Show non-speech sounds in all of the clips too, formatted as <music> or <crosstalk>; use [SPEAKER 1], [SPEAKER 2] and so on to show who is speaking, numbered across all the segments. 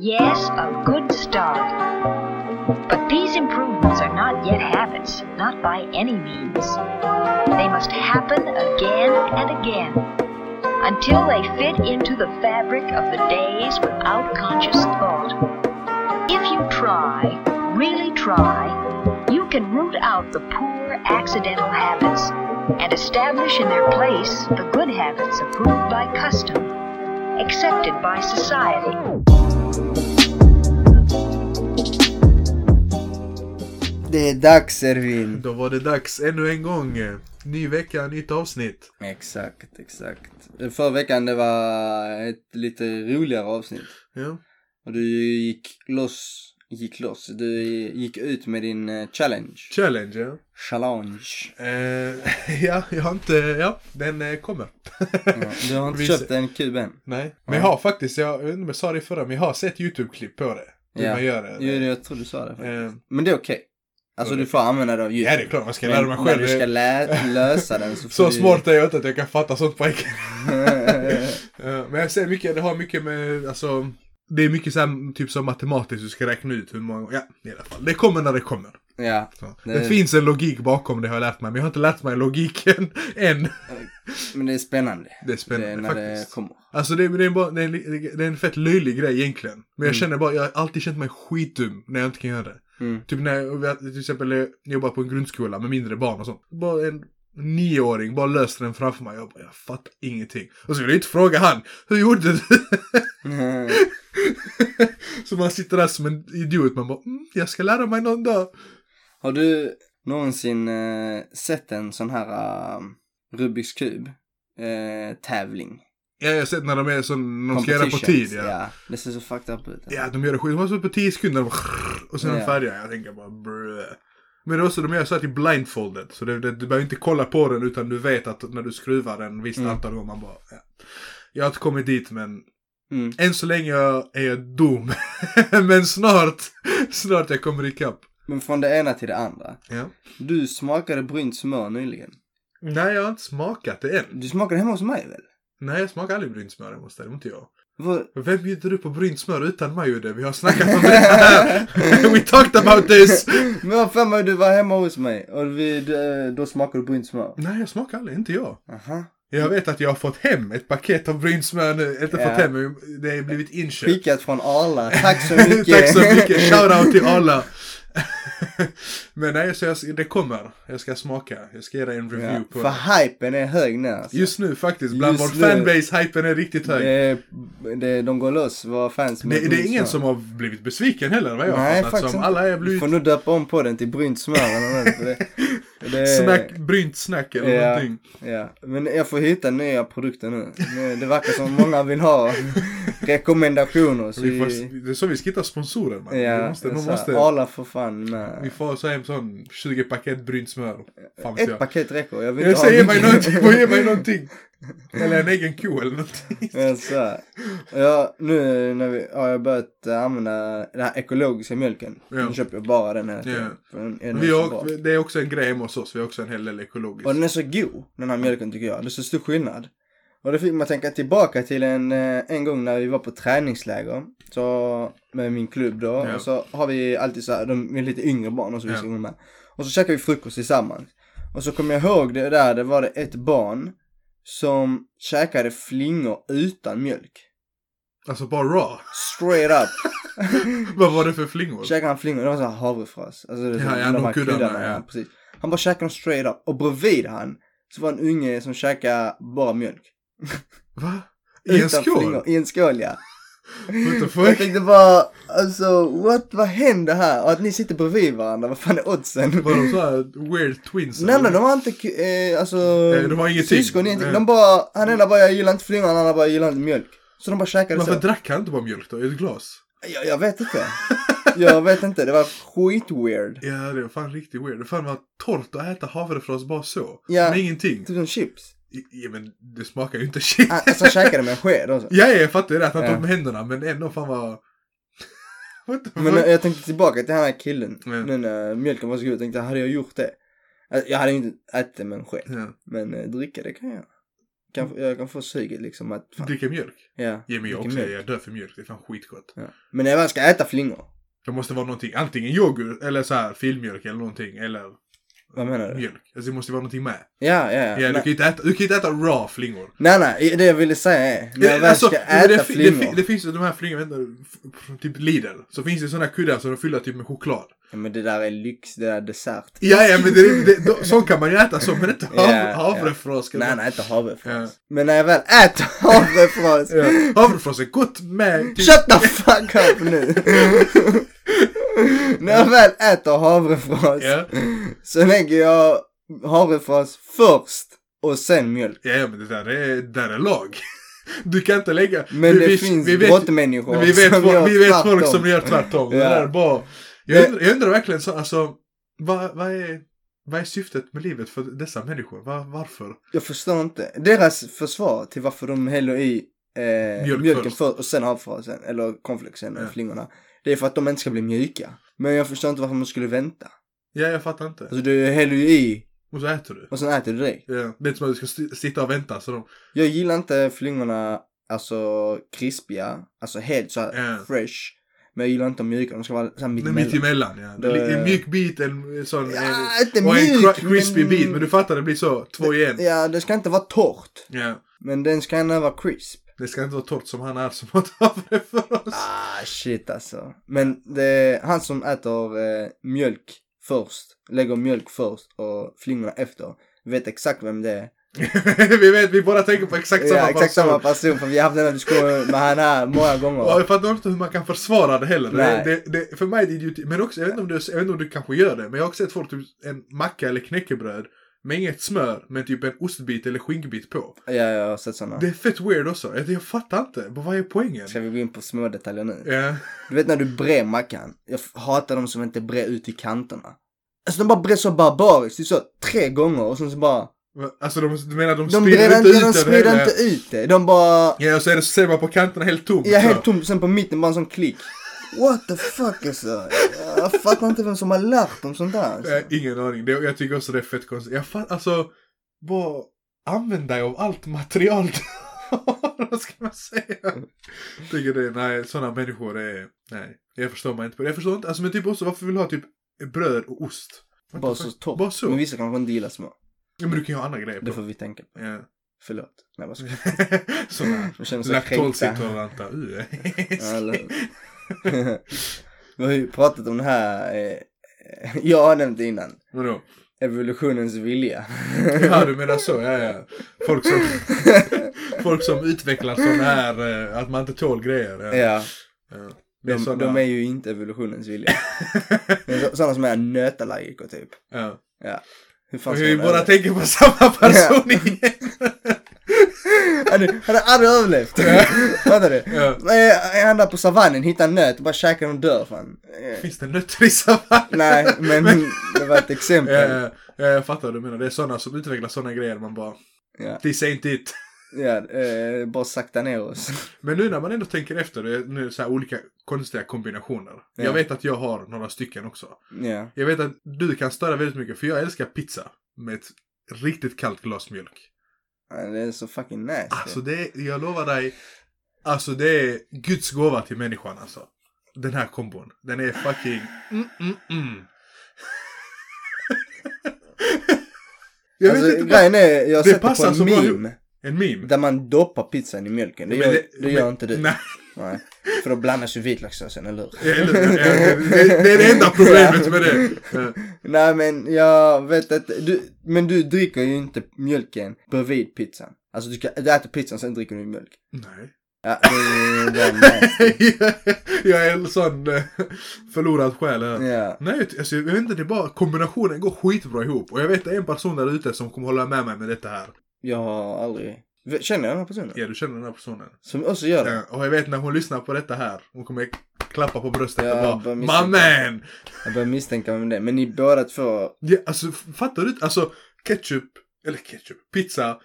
[SPEAKER 1] Yes, a good start. But these improvements are not yet habits, not by any means. They must happen again and again until they fit into the fabric of the days without conscious thought. If you try, really try, you can root out the poor accidental habits and establish in their place the good habits approved by custom, accepted by society.
[SPEAKER 2] Det är dags Ervin.
[SPEAKER 3] Då var det dags ännu en gång. eh, Ny vecka, nytt avsnitt.
[SPEAKER 2] Exakt, exakt. Förra veckan det var ett lite roligare avsnitt.
[SPEAKER 3] Ja,
[SPEAKER 2] Och du gick loss, gick loss, du gick ut med din eh, challenge.
[SPEAKER 3] challenge ja.
[SPEAKER 2] Challenge.
[SPEAKER 3] Eh, <laughs> ja, jag har inte, ja, den eh, kommer.
[SPEAKER 2] Ja, du har inte
[SPEAKER 3] Vi-
[SPEAKER 2] köpt en kub än.
[SPEAKER 3] Nej, men jag har faktiskt, jag undrar om jag sa det i förra, men jag har sett YouTube-klipp på det. Hur
[SPEAKER 2] Ja.
[SPEAKER 3] man gör det.
[SPEAKER 2] Jo, det- jag tror du sa det. faktiskt.
[SPEAKER 3] Eh,
[SPEAKER 2] Men det är okej. Alltså du får använda det av
[SPEAKER 3] ja,
[SPEAKER 2] YouTube.
[SPEAKER 3] det är klart man ska lära
[SPEAKER 2] Men
[SPEAKER 3] mig
[SPEAKER 2] när
[SPEAKER 3] själv.
[SPEAKER 2] du ska lä- lösa den så får
[SPEAKER 3] <laughs> Så
[SPEAKER 2] du...
[SPEAKER 3] smart är jag inte att jag kan fatta sånt på engelska. <laughs> Eh, Men jag ser mycket, det har mycket med, alltså. Det är mycket så här, typ som matematiskt, du ska räkna ut hur många, ja i alla fall. Det kommer när det kommer.
[SPEAKER 2] <laughs> ja.
[SPEAKER 3] Så.
[SPEAKER 2] Det-
[SPEAKER 3] Det, finns en logik bakom det har jag lärt mig, men jag har inte lärt mig logiken <laughs> än.
[SPEAKER 2] Men det är spännande.
[SPEAKER 3] Det är spännande
[SPEAKER 2] det är när det
[SPEAKER 3] faktiskt.
[SPEAKER 2] kommer.
[SPEAKER 3] Alltså det, är- det, är bara, det, är en, li- det är en fett löjlig grej egentligen. Men jag känner bara, jag har alltid känt mig skitdum när jag inte kan göra det.
[SPEAKER 2] Mm.
[SPEAKER 3] Typ när jag jag till exempel jobbar på en grundskola med mindre barn och sånt. Bara en nioåring bara löste den framför mig. Jag bara, jag fattar ingenting. Och så vill jag inte fråga han, hur gjorde du? <laughs>
[SPEAKER 2] Mm. <laughs>
[SPEAKER 3] så man sitter där som en idiot, man bara, mm, jag ska lära mig någon dag.
[SPEAKER 2] Har du någonsin eh, sett en sån här eh, Rubiks kub eh, tävling?
[SPEAKER 3] Ja, jag har sett när de är sån, de ska göra på tid.
[SPEAKER 2] Competitions,
[SPEAKER 3] Ja.
[SPEAKER 2] Det ser så fucked up ut.
[SPEAKER 3] Ja, de gör det skit. De har suttit på 10 sekunder och, <laughs> och sen är de
[SPEAKER 2] Ja.
[SPEAKER 3] färdiga. Jag tänker bara brö. Men det är också, de gör så här till blindfolded. Så det, det, du behöver inte kolla på den utan du vet att när du skruvar den visst
[SPEAKER 2] Mm.
[SPEAKER 3] antal gånger man bara... Ja. Jag har inte kommit dit men
[SPEAKER 2] Mm.
[SPEAKER 3] än så länge jag- är jag dum. <laughs> men snart, <laughs> snart jag kommer ikapp.
[SPEAKER 2] Men från det ena till det andra.
[SPEAKER 3] Ja.
[SPEAKER 2] Du smakade brynt smör nyligen.
[SPEAKER 3] Nej, jag har inte smakat det än.
[SPEAKER 2] Du smakade hemma hos mig väl?
[SPEAKER 3] Nej, jag smakar aldrig brynt smör hemma hos dig. Det var inte jag.
[SPEAKER 2] Vad-
[SPEAKER 3] Vem bjuder du på brynt smör utan mig Udde? Vi har snackat om det här. <laughs> We talked about this.
[SPEAKER 2] Men jag har för mig du var hemma hos mig och vi, du, då smakade du brynt smör.
[SPEAKER 3] Nej, jag smakar aldrig. Inte jag.
[SPEAKER 2] Aha.
[SPEAKER 3] Jag vet att jag har fått hem ett paket av brynsmör nu. Inte
[SPEAKER 2] Ja.
[SPEAKER 3] fått hem, men det har blivit inköpt.
[SPEAKER 2] Skickat från
[SPEAKER 3] <laughs>
[SPEAKER 2] Arla. Tack så mycket.
[SPEAKER 3] Tack så mycket. Shoutout
[SPEAKER 2] <laughs>
[SPEAKER 3] till alla. men nej, så jag, det kommer. Jag ska smaka. Jag ska ge dig en review
[SPEAKER 2] Ja,
[SPEAKER 3] på
[SPEAKER 2] för
[SPEAKER 3] det.
[SPEAKER 2] hypen är hög nu alltså.
[SPEAKER 3] Just nu faktiskt, bland
[SPEAKER 2] Just
[SPEAKER 3] vår
[SPEAKER 2] nu.
[SPEAKER 3] fanbase, hypen är riktigt hög.
[SPEAKER 2] det,
[SPEAKER 3] Det,
[SPEAKER 2] är- det, de går loss, våra fans. med
[SPEAKER 3] det, är
[SPEAKER 2] brynt
[SPEAKER 3] ingen
[SPEAKER 2] smör.
[SPEAKER 3] som har blivit besviken heller, vad jag
[SPEAKER 2] Nej,
[SPEAKER 3] har fattat
[SPEAKER 2] faktiskt
[SPEAKER 3] som.
[SPEAKER 2] inte.
[SPEAKER 3] Alla är
[SPEAKER 2] Du
[SPEAKER 3] blivit
[SPEAKER 2] får
[SPEAKER 3] <laughs>
[SPEAKER 2] nog döpa om på den till brynt smör eller något. för det, det,
[SPEAKER 3] snack, brynt snack eller
[SPEAKER 2] Ja.
[SPEAKER 3] någonting.
[SPEAKER 2] Ja, men jag får hitta nya produkter nu. Nu- Det verkar som många vill
[SPEAKER 3] <laughs>
[SPEAKER 2] ha rekommendationer. Så
[SPEAKER 3] Vi
[SPEAKER 2] vi
[SPEAKER 3] får, det är så vi ska hitta sponsorer man. vi
[SPEAKER 2] ja,
[SPEAKER 3] måste, de
[SPEAKER 2] så
[SPEAKER 3] måste,
[SPEAKER 2] Arla för fan
[SPEAKER 3] vi
[SPEAKER 2] med.
[SPEAKER 3] får så hem sån 20 paket brynt smör. Fan vet
[SPEAKER 2] Ett
[SPEAKER 3] jag.
[SPEAKER 2] paket räcker, jag vill
[SPEAKER 3] Jag
[SPEAKER 2] inte
[SPEAKER 3] säger
[SPEAKER 2] ha
[SPEAKER 3] mig någonting, får ge mig någonting. Eller en egen ko eller någonting.
[SPEAKER 2] Ja, så här. ja, nu när vi, har jag börjat eh, använda den här ekologiska mjölken.
[SPEAKER 3] Ja.
[SPEAKER 2] Nu köper jag bara den här.
[SPEAKER 3] Ja.
[SPEAKER 2] För den är
[SPEAKER 3] Vi
[SPEAKER 2] så
[SPEAKER 3] har,
[SPEAKER 2] bra.
[SPEAKER 3] det är också en grej hemma hos oss, vi har också en hel del ekologiskt.
[SPEAKER 2] Och den är så god, den här mjölken tycker jag. Det är så stor skillnad. Och det fick man tänka tillbaka till en, eh, en gång när vi var på träningsläger. Så, med min klubb då.
[SPEAKER 3] Ja.
[SPEAKER 2] Och så har vi alltid så här, de är lite yngre barn och så vi
[SPEAKER 3] Ja.
[SPEAKER 2] ska gå med. Och så käkar vi frukost tillsammans. Och så kommer jag ihåg det där, det var det ett barn som käkade flingor utan mjölk.
[SPEAKER 3] Alltså bara raw. <laughs>
[SPEAKER 2] Straight up.
[SPEAKER 3] Vad var det för flingor?
[SPEAKER 2] Käkade han flingor, det var så här havrefrös. Alltså det är så
[SPEAKER 3] Ja, ja,
[SPEAKER 2] de
[SPEAKER 3] de
[SPEAKER 2] här
[SPEAKER 3] kuddarna,
[SPEAKER 2] kuddarna.
[SPEAKER 3] ja.
[SPEAKER 2] ja, precis. Han bara käkade dem straight up. Och bredvid han så var en unge som käkade bara mjölk.
[SPEAKER 3] Va? I en
[SPEAKER 2] Utan
[SPEAKER 3] skål?
[SPEAKER 2] flingor. I en skål ja.
[SPEAKER 3] What the
[SPEAKER 2] Jag
[SPEAKER 3] fuck?
[SPEAKER 2] tänkte bara, alltså what, vad händer här? Och att ni sitter bredvid varandra, vad fan är oddsen?
[SPEAKER 3] <laughs> Var de såhär weird twins?
[SPEAKER 2] Nej
[SPEAKER 3] eller?
[SPEAKER 2] nej, de har inte, ku- eh, alltså
[SPEAKER 3] Eh, de har ingenting.
[SPEAKER 2] syskon ingenting.
[SPEAKER 3] Nej.
[SPEAKER 2] De bara, han ena bara jag gillar inte flingor, han andra bara jag gillar inte mjölk. Så de bara käkade
[SPEAKER 3] Varför
[SPEAKER 2] så.
[SPEAKER 3] drack han inte bara mjölk då? I ett glas?
[SPEAKER 2] Jag, jag vet inte. Jag vet inte, det var skit weird.
[SPEAKER 3] Ja, det var fan riktigt weird. Det fan var torrt att äta havrefrost bara så.
[SPEAKER 2] Ja.
[SPEAKER 3] Med ingenting.
[SPEAKER 2] Typ som chips.
[SPEAKER 3] I- Ja, men det smakar ju inte <laughs> shit.
[SPEAKER 2] Ah, Alltså han käkade med en sked också.
[SPEAKER 3] Ja, ja, jag fattar ju det. Att han
[SPEAKER 2] Ja.
[SPEAKER 3] tog med händerna, men ändå fan vad... What the fuck?
[SPEAKER 2] Men eh, jag tänkte tillbaka till den här killen.
[SPEAKER 3] Mm.
[SPEAKER 2] Nu när mjölken var så god, jag tänkte hade jag gjort det? Alltså, Jag hade ju inte ätit det med en sked.
[SPEAKER 3] Ja.
[SPEAKER 2] Men eh, dricka det kan jag. kan,
[SPEAKER 3] Mm.
[SPEAKER 2] jag kan få suget liksom att... Fan,
[SPEAKER 3] Dricka mjölk?
[SPEAKER 2] ja,
[SPEAKER 3] Ge mig
[SPEAKER 2] dricka
[SPEAKER 3] också,
[SPEAKER 2] mjölk.
[SPEAKER 3] jag dör för mjölk. Det är fan skitgott.
[SPEAKER 2] Ja. Men när man ska äta flingor,
[SPEAKER 3] Det måste vara någonting, antingen yoghurt eller så här filmjölk eller någonting. Eller
[SPEAKER 2] vad menar du?
[SPEAKER 3] mjölk. Alltså det måste vara någonting med.
[SPEAKER 2] Ja, ja, ja.
[SPEAKER 3] Ja, du, kan ju
[SPEAKER 2] nej,
[SPEAKER 3] inte äta, du kan ju inte äta raw flingor.
[SPEAKER 2] nej, nej, det jag ville säga är, när jag väl
[SPEAKER 3] Alltså,
[SPEAKER 2] ska
[SPEAKER 3] men
[SPEAKER 2] äta
[SPEAKER 3] det, fi- det,
[SPEAKER 2] flingor.
[SPEAKER 3] fi- det finns ju de här flingorna, vänta, f- från typ Lidl. Så finns det sådana här kuddar som de fyller typ med choklad.
[SPEAKER 2] Ja, men det där är lyx, det där är dessert.
[SPEAKER 3] Ja, ja men det, det, då, sånt kan man ju äta så, men inte hav,
[SPEAKER 2] Ja,
[SPEAKER 3] havrefrost.
[SPEAKER 2] Nej, nej, inte havrefras.
[SPEAKER 3] Ja.
[SPEAKER 2] Men när jag väl äter <laughs> havrefras.
[SPEAKER 3] Ja. Havrefrost är gott med... Typ,
[SPEAKER 2] Shut the fuck up nu! när jag väl äter havrefras
[SPEAKER 3] Ja.
[SPEAKER 2] så lägger jag havrefras först och sen mjölk.
[SPEAKER 3] ja, ja, men det där är, där är lag. Du kan inte lägga...
[SPEAKER 2] Men det
[SPEAKER 3] vi,
[SPEAKER 2] finns
[SPEAKER 3] vi vet,
[SPEAKER 2] brottmänniskor
[SPEAKER 3] vi vet,
[SPEAKER 2] som
[SPEAKER 3] folk,
[SPEAKER 2] gör
[SPEAKER 3] vi vet folk
[SPEAKER 2] tvärtom.
[SPEAKER 3] som gör tvärtom. Det
[SPEAKER 2] Ja.
[SPEAKER 3] där är bara, jag,
[SPEAKER 2] Det-
[SPEAKER 3] undrar, jag undrar verkligen, så, alltså, vad, vad, är, vad är syftet med livet för dessa människor? Var, varför?
[SPEAKER 2] Jag förstår inte. Deras försvar till varför de häller i eh,
[SPEAKER 3] Mjölk
[SPEAKER 2] mjölken
[SPEAKER 3] först.
[SPEAKER 2] först och sen havrefrasen, eller cornflakesen, eller
[SPEAKER 3] Ja.
[SPEAKER 2] flingorna. Det är för att de inte ska bli mjuka. Men jag förstår inte varför man skulle vänta.
[SPEAKER 3] Ja, jag fattar inte.
[SPEAKER 2] Alltså du häller ju i
[SPEAKER 3] Och så äter du.
[SPEAKER 2] och sen äter du direkt.
[SPEAKER 3] Ja, det är inte som att du ska sti- sitta och vänta. Så de,
[SPEAKER 2] Jag gillar inte flingorna, alltså krispiga, alltså helt såhär
[SPEAKER 3] Ja.
[SPEAKER 2] fresh. Men jag gillar inte de mjuka, de ska vara såhär
[SPEAKER 3] mitt,
[SPEAKER 2] mittemellan.
[SPEAKER 3] mitt emellan, ja. Det... är li- En mjuk bit, en sån... en,
[SPEAKER 2] Ja, inte
[SPEAKER 3] och en
[SPEAKER 2] mjuk,
[SPEAKER 3] cri- crispy bit, men du fattar, det blir så. Två i en.
[SPEAKER 2] Ja, det ska inte vara torrt.
[SPEAKER 3] Ja.
[SPEAKER 2] Men den ska gärna vara crisp.
[SPEAKER 3] Det ska inte vara torrt som han är som har tagit det för oss.
[SPEAKER 2] Ah shit alltså. Men det, han som äter eh, mjölk först, lägger mjölk först och flingorna efter. Vet exakt vem det är.
[SPEAKER 3] <laughs> vi vet, vi båda tänker på exakt samma
[SPEAKER 2] ja, exakt
[SPEAKER 3] person.
[SPEAKER 2] samma person för vi har haft den här diskussionen med han här många
[SPEAKER 3] <laughs> Ja,
[SPEAKER 2] gånger.
[SPEAKER 3] jag fattar inte hur man kan försvara det heller. Det,
[SPEAKER 2] Nej.
[SPEAKER 3] det, det, för mig är det idioti. Men också, jag vet, inte om du, jag vet inte om du kanske gör det, men jag har också sett folk typ en macka eller knäckebröd med inget smör, men typ en ostbit eller skinkbit på.
[SPEAKER 2] Ja, jag har sett sådana.
[SPEAKER 3] Det är fett weird också. Jag, jag fattar inte. Vad vad är poängen?
[SPEAKER 2] Ska vi gå in på små detaljer nu?
[SPEAKER 3] Ja.
[SPEAKER 2] Du vet när du brer mackan. Jag f- hatar de som inte brer ut i kanterna. Alltså de bara brer så barbariskt. Det är så tre gånger och sen så bara.
[SPEAKER 3] Alltså, de, du menar de,
[SPEAKER 2] De
[SPEAKER 3] sprider
[SPEAKER 2] brer
[SPEAKER 3] inte
[SPEAKER 2] inte,
[SPEAKER 3] ut
[SPEAKER 2] de
[SPEAKER 3] det
[SPEAKER 2] sprider
[SPEAKER 3] heller?
[SPEAKER 2] inte ut det. De bara.
[SPEAKER 3] Ja, och så är det, så ser man på kanterna helt tomt.
[SPEAKER 2] Jag är
[SPEAKER 3] så.
[SPEAKER 2] helt tom, sen på mitten bara en sån klick. What the fuck alltså? Jag fattar inte vem som har lärt dem sånt där.
[SPEAKER 3] Jag har
[SPEAKER 2] Alltså.
[SPEAKER 3] ingen aning. Det, jag tycker också det är fett konstigt. Jag fan, alltså, bara använd dig av allt material du har. <laughs> Vad ska man säga? Tycker det, nej, sådana människor är, nej. Jag förstår mig inte på det. Jag förstår inte, alltså men typ också varför vill du ha typ bröd och ost? What
[SPEAKER 2] Bara
[SPEAKER 3] the
[SPEAKER 2] så
[SPEAKER 3] fuck?
[SPEAKER 2] topp.
[SPEAKER 3] Bara så?
[SPEAKER 2] Men vissa kanske inte gillar små.
[SPEAKER 3] Ja, men du kan ju ha andra grejer
[SPEAKER 2] Det
[SPEAKER 3] på.
[SPEAKER 2] får vi tänka på.
[SPEAKER 3] Ja. <laughs>
[SPEAKER 2] Förlåt. Nej, vad ska jag
[SPEAKER 3] Sådana
[SPEAKER 2] jag känner mig så kränkta.
[SPEAKER 3] laktosintoleranta. Uh. <laughs>
[SPEAKER 2] Ja, eller hur? <laughs> Vi har ju pratat om det här. Eh, jag har nämnt det innan.
[SPEAKER 3] Vadå?
[SPEAKER 2] Evolutionens
[SPEAKER 3] <laughs>
[SPEAKER 2] vilja.
[SPEAKER 3] Ja, du menar så, ja, ja. Folk som,
[SPEAKER 2] <laughs>
[SPEAKER 3] folk som utvecklar sådana här, eh, att man inte tål grejer. Ja.
[SPEAKER 2] ja,
[SPEAKER 3] Ja. Det är
[SPEAKER 2] de,
[SPEAKER 3] sådana...
[SPEAKER 2] de är ju inte evolutionens
[SPEAKER 3] <laughs>
[SPEAKER 2] vilja. Sådana som är nötallergiker typ.
[SPEAKER 3] Ja.
[SPEAKER 2] Ja. Hur fan ska
[SPEAKER 3] Vi
[SPEAKER 2] man
[SPEAKER 3] båda
[SPEAKER 2] överleva?
[SPEAKER 3] tänker på samma person igen.
[SPEAKER 2] Han hade- han hade aldrig överlevt. <laughs> Fattar du?
[SPEAKER 3] Ja.
[SPEAKER 2] Nej, Han där på savannen hittar en nöt och bara käkar den och dör fan. Eh,
[SPEAKER 3] Finns det nötter i savannen?
[SPEAKER 2] Nej,
[SPEAKER 3] <laughs>
[SPEAKER 2] men det var ett exempel.
[SPEAKER 3] Ja, ja, ja, jag fattar vad du menar. Det är sådana som utvecklar sådana grejer. Man bara,
[SPEAKER 2] Ja.
[SPEAKER 3] this ain't it.
[SPEAKER 2] Ja, eh, bara sakta ner oss.
[SPEAKER 3] Men nu när man ändå tänker efter, det är nu så här olika konstiga kombinationer.
[SPEAKER 2] Ja.
[SPEAKER 3] Jag vet att jag har några stycken också.
[SPEAKER 2] Ja.
[SPEAKER 3] Jag vet att du kan störa väldigt mycket, för jag älskar pizza med ett riktigt kallt glas mjölk.
[SPEAKER 2] Ja, Det är så fucking nasty.
[SPEAKER 3] Alltså det är, jag lovar dig, alltså det är Guds gåva till människan alltså. Den här kombon. Den är fucking... Mm, mm, mm. jag
[SPEAKER 2] Alltså,
[SPEAKER 3] vet inte vad...
[SPEAKER 2] grejen är, jag har
[SPEAKER 3] Det
[SPEAKER 2] sett det på
[SPEAKER 3] passar så
[SPEAKER 2] en
[SPEAKER 3] bra
[SPEAKER 2] meme.
[SPEAKER 3] En meme.
[SPEAKER 2] Där man doppar pizzan i mjölken. Det
[SPEAKER 3] Men
[SPEAKER 2] gör, det, gör
[SPEAKER 3] men-
[SPEAKER 2] inte du.
[SPEAKER 3] Nej,
[SPEAKER 2] Nej. <laughs> För då blandas ju vitlökssåsen, eller hur?
[SPEAKER 3] eller hur? Ja, det, det, det
[SPEAKER 2] <laughs>
[SPEAKER 3] är det enda problemet med det. Eh, Ja.
[SPEAKER 2] Nej men jag vet att du, men du dricker ju inte mjölken bredvid pizzan. Alltså du, ska, du äter pizzan sen dricker du mjölk.
[SPEAKER 3] Nej. <laughs>
[SPEAKER 2] Ja, det är ju bara nasty. <laughs>
[SPEAKER 3] jag är en sån eh, förlorad själ här.
[SPEAKER 2] Ja.
[SPEAKER 3] Nej, jag ty- alltså, jag vet inte, det är bara kombinationen går skitbra ihop. Och jag vet det är en person där ute som kommer hålla med mig med detta här.
[SPEAKER 2] Jag har aldrig... V- Känner jag den här personen?
[SPEAKER 3] Ja, du känner den här personen.
[SPEAKER 2] Som också gör det?
[SPEAKER 3] Ja, och jag vet när hon lyssnar på detta här, hon kommer klappa på bröstet
[SPEAKER 2] Ja,
[SPEAKER 3] och
[SPEAKER 2] bara
[SPEAKER 3] bara My
[SPEAKER 2] misstänka.
[SPEAKER 3] man!
[SPEAKER 2] Jag börjar misstänka vem det är. Men ni båda två...
[SPEAKER 3] Ja, alltså f- fattar du inte? Alltså ketchup, eller ketchup, pizza,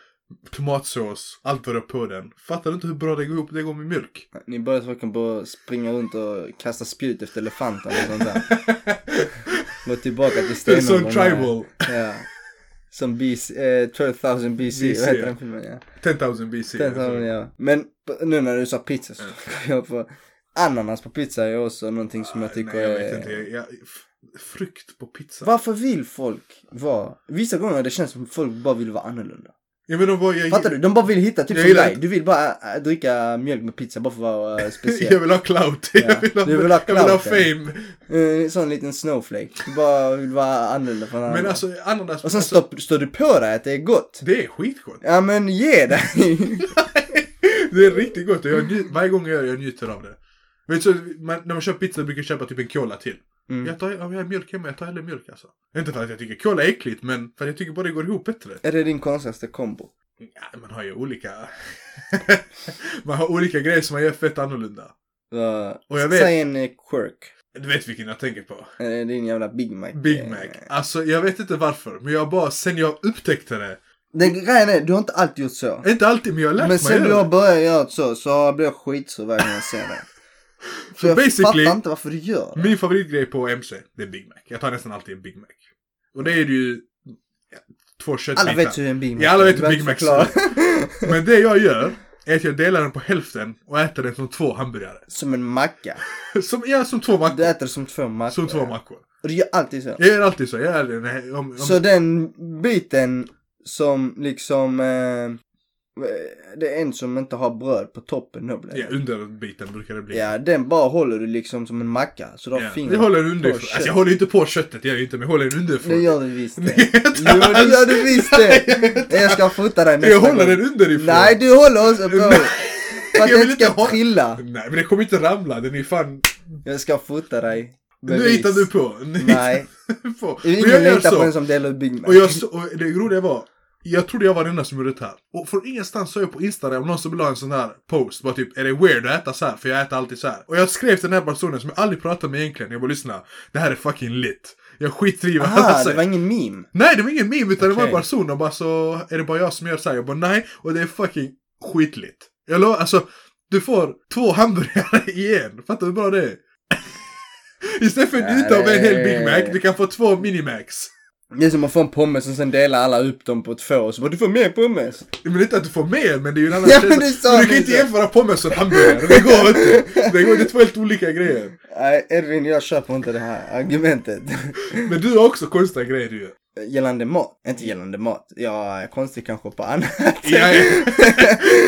[SPEAKER 3] tomatsås, allt vad du har på den. Fattar du inte hur bra det går ihop? Det går med mjölk.
[SPEAKER 2] Ni båda två kan bara springa runt och kasta spjut efter
[SPEAKER 3] <laughs>
[SPEAKER 2] elefanter och sånt där. Gå tillbaka till
[SPEAKER 3] Det är
[SPEAKER 2] stenåldern.
[SPEAKER 3] sån tribal.
[SPEAKER 2] Ja. Som BC, eh, 12,000 BC,
[SPEAKER 3] BC,
[SPEAKER 2] vad heter
[SPEAKER 3] ja.
[SPEAKER 2] den filmen? Ja.
[SPEAKER 3] 10,000 BC.
[SPEAKER 2] Den tar hon, ja. Men p- nu när du sa pizza så <laughs> kom jag på ananas på pizza är också någonting som jag tycker
[SPEAKER 3] Nej, jag vet
[SPEAKER 2] är...
[SPEAKER 3] inte. Jag, jag, f- frukt på pizza.
[SPEAKER 2] Varför vill folk vara... Vissa gånger det känns som folk bara vill vara annorlunda.
[SPEAKER 3] Jag menar vad jag...
[SPEAKER 2] Fattar du? De bara vill hitta typ
[SPEAKER 3] Jag
[SPEAKER 2] som
[SPEAKER 3] gillar
[SPEAKER 2] dig.
[SPEAKER 3] inte-
[SPEAKER 2] Du vill bara äh, dricka mjölk med pizza bara för att
[SPEAKER 3] <laughs>
[SPEAKER 2] vara äh,
[SPEAKER 3] Jag
[SPEAKER 2] speciell.
[SPEAKER 3] vill ha clout.
[SPEAKER 2] Ja,
[SPEAKER 3] Jag, vill
[SPEAKER 2] du
[SPEAKER 3] ha,
[SPEAKER 2] vill ha
[SPEAKER 3] jag vill ha
[SPEAKER 2] clout, ja.
[SPEAKER 3] fame.
[SPEAKER 2] En Eh, sån liten snowflake. Du bara vill vara annorlunda från alla
[SPEAKER 3] Men
[SPEAKER 2] andra.
[SPEAKER 3] alltså ananas...
[SPEAKER 2] Och sen
[SPEAKER 3] alltså,
[SPEAKER 2] stopp, står du på dig att det är gott.
[SPEAKER 3] Det är skitgott.
[SPEAKER 2] Ja men ge
[SPEAKER 3] <laughs>
[SPEAKER 2] dig!
[SPEAKER 3] Det är riktigt gott och jag nju- varje gång jag gör det, jag njuter av det. Vet du, så, man, när man köper pizza brukar jag köpa typ en cola till.
[SPEAKER 2] Mm.
[SPEAKER 3] Jag tar, om jag har mjölk hemma, jag tar hellre mjölk alltså. Inte för att jag tycker cola är äckligt, men för att jag tycker bara det går ihop bättre.
[SPEAKER 2] Är det din konstigaste kombo?
[SPEAKER 3] Ja, man har ju olika... <laughs> man har olika grejer som man gör fett annorlunda.
[SPEAKER 2] Så,
[SPEAKER 3] Och jag vet-
[SPEAKER 2] Säg en eh, quirk.
[SPEAKER 3] Du vet vilken jag tänker på.
[SPEAKER 2] Eh, Det är din jävla Big Mac.
[SPEAKER 3] Big
[SPEAKER 2] Eh,
[SPEAKER 3] Mac. Alltså jag vet inte varför, men jag bara, sen jag upptäckte det.
[SPEAKER 2] Den grejen är, du har inte alltid gjort så.
[SPEAKER 3] Inte alltid, men jag har lärt
[SPEAKER 2] Men
[SPEAKER 3] mig
[SPEAKER 2] sen
[SPEAKER 3] göra
[SPEAKER 2] du har
[SPEAKER 3] det.
[SPEAKER 2] börjat göra så, så blir jag skitsur varje gång jag ser
[SPEAKER 3] <laughs>
[SPEAKER 2] dig. Så jag
[SPEAKER 3] basically- Mm,
[SPEAKER 2] fattar inte varför du gör det.
[SPEAKER 3] Min favoritgrej på MC, det är Big Mac. Jag tar nästan alltid en Big Mac. Och det är ju ja, två köttbitar.
[SPEAKER 2] Alla vet hur en Big Mac
[SPEAKER 3] Ja, alla vet
[SPEAKER 2] Du
[SPEAKER 3] hur
[SPEAKER 2] behöver
[SPEAKER 3] Big
[SPEAKER 2] inte
[SPEAKER 3] Macs är.
[SPEAKER 2] förklara.
[SPEAKER 3] Men det jag gör är att jag delar den på hälften och äter den som två hamburgare.
[SPEAKER 2] Som en macka.
[SPEAKER 3] Som, ja, som två mackor.
[SPEAKER 2] Du äter som två mackor.
[SPEAKER 3] Som två mackor.
[SPEAKER 2] Och du gör alltid så.
[SPEAKER 3] Jag gör alltid så. Jag är den här, om, om,
[SPEAKER 2] Så den biten som liksom... Eh, det är en som inte har bröd på toppen då blir det.
[SPEAKER 3] ja, underbiten brukar det bli.
[SPEAKER 2] Ja, den bara håller du liksom som en macka. Så du har
[SPEAKER 3] Ja.
[SPEAKER 2] fingret
[SPEAKER 3] Jag håller den
[SPEAKER 2] på
[SPEAKER 3] underifrån.
[SPEAKER 2] kött.
[SPEAKER 3] Alltså, jag håller inte på köttet, jag gör ju inte, men jag håller den
[SPEAKER 2] Det
[SPEAKER 3] underifrån.
[SPEAKER 2] gör du visst det.
[SPEAKER 3] Nej, inte
[SPEAKER 2] Jo, det
[SPEAKER 3] alls.
[SPEAKER 2] gör du visst det. Jag ska fota dig nästa
[SPEAKER 3] jag håller
[SPEAKER 2] gång.
[SPEAKER 3] den underifrån.
[SPEAKER 2] Nej, du håller också på.
[SPEAKER 3] Nej,
[SPEAKER 2] För att
[SPEAKER 3] jag
[SPEAKER 2] jag
[SPEAKER 3] vill
[SPEAKER 2] inte ska
[SPEAKER 3] inte ha-
[SPEAKER 2] trilla.
[SPEAKER 3] Nej, men den kommer inte ramla. Den är fan...
[SPEAKER 2] Jag ska fota dig.
[SPEAKER 3] Nu hittar du på. Nu
[SPEAKER 2] Nej.
[SPEAKER 3] hittar du på. Men
[SPEAKER 2] Ingen
[SPEAKER 3] jag gör
[SPEAKER 2] litar på
[SPEAKER 3] så.
[SPEAKER 2] en som delar ut Big Mac.
[SPEAKER 3] Och, jag, så- och det roliga var, jag trodde jag var den enda som gjorde det här. Och från ingenstans såg jag på Instagram någon som la en sån här post. Bara typ, är det weird att äta så här? För jag äter alltid så här. Och jag skrev till den här personen som jag aldrig pratat med egentligen. Jag bara, lyssna. Det här är fucking lit. Jag skiter i vad
[SPEAKER 2] Aha,
[SPEAKER 3] han
[SPEAKER 2] Ah, det var
[SPEAKER 3] säger.
[SPEAKER 2] ingen meme.
[SPEAKER 3] Nej, det var ingen meme utan det var
[SPEAKER 2] Okej.
[SPEAKER 3] en person. Och bara så, är det bara jag som gör så här? Jag bara, nej. Och det är fucking skitligt. Jag lovar, alltså. Du får två hamburgare <laughs> igen. Fattar du hur bra det är? <laughs> Istället för att
[SPEAKER 2] Ja,
[SPEAKER 3] njuta av en hel
[SPEAKER 2] det-
[SPEAKER 3] Big Mac, du kan få två Minimacs.
[SPEAKER 2] Det är som att få en pommes och sen delar alla upp dem på två och så bara du får mer pommes.
[SPEAKER 3] Nej, Men inte att du får mer, men det är ju en annan
[SPEAKER 2] Ja,
[SPEAKER 3] känsla.
[SPEAKER 2] men du sa
[SPEAKER 3] du kan
[SPEAKER 2] det
[SPEAKER 3] inte
[SPEAKER 2] så.
[SPEAKER 3] jämföra pommes och hamburgare. Det går inte. Det, går, det är två helt olika grejer.
[SPEAKER 2] Nej, Edvin, jag köper inte det här argumentet. <laughs>
[SPEAKER 3] Men du har också konstiga grejer du gör.
[SPEAKER 2] gällande mat. Inte gällande mat. Jag är konstig kanske på annat.
[SPEAKER 3] Ja, ja.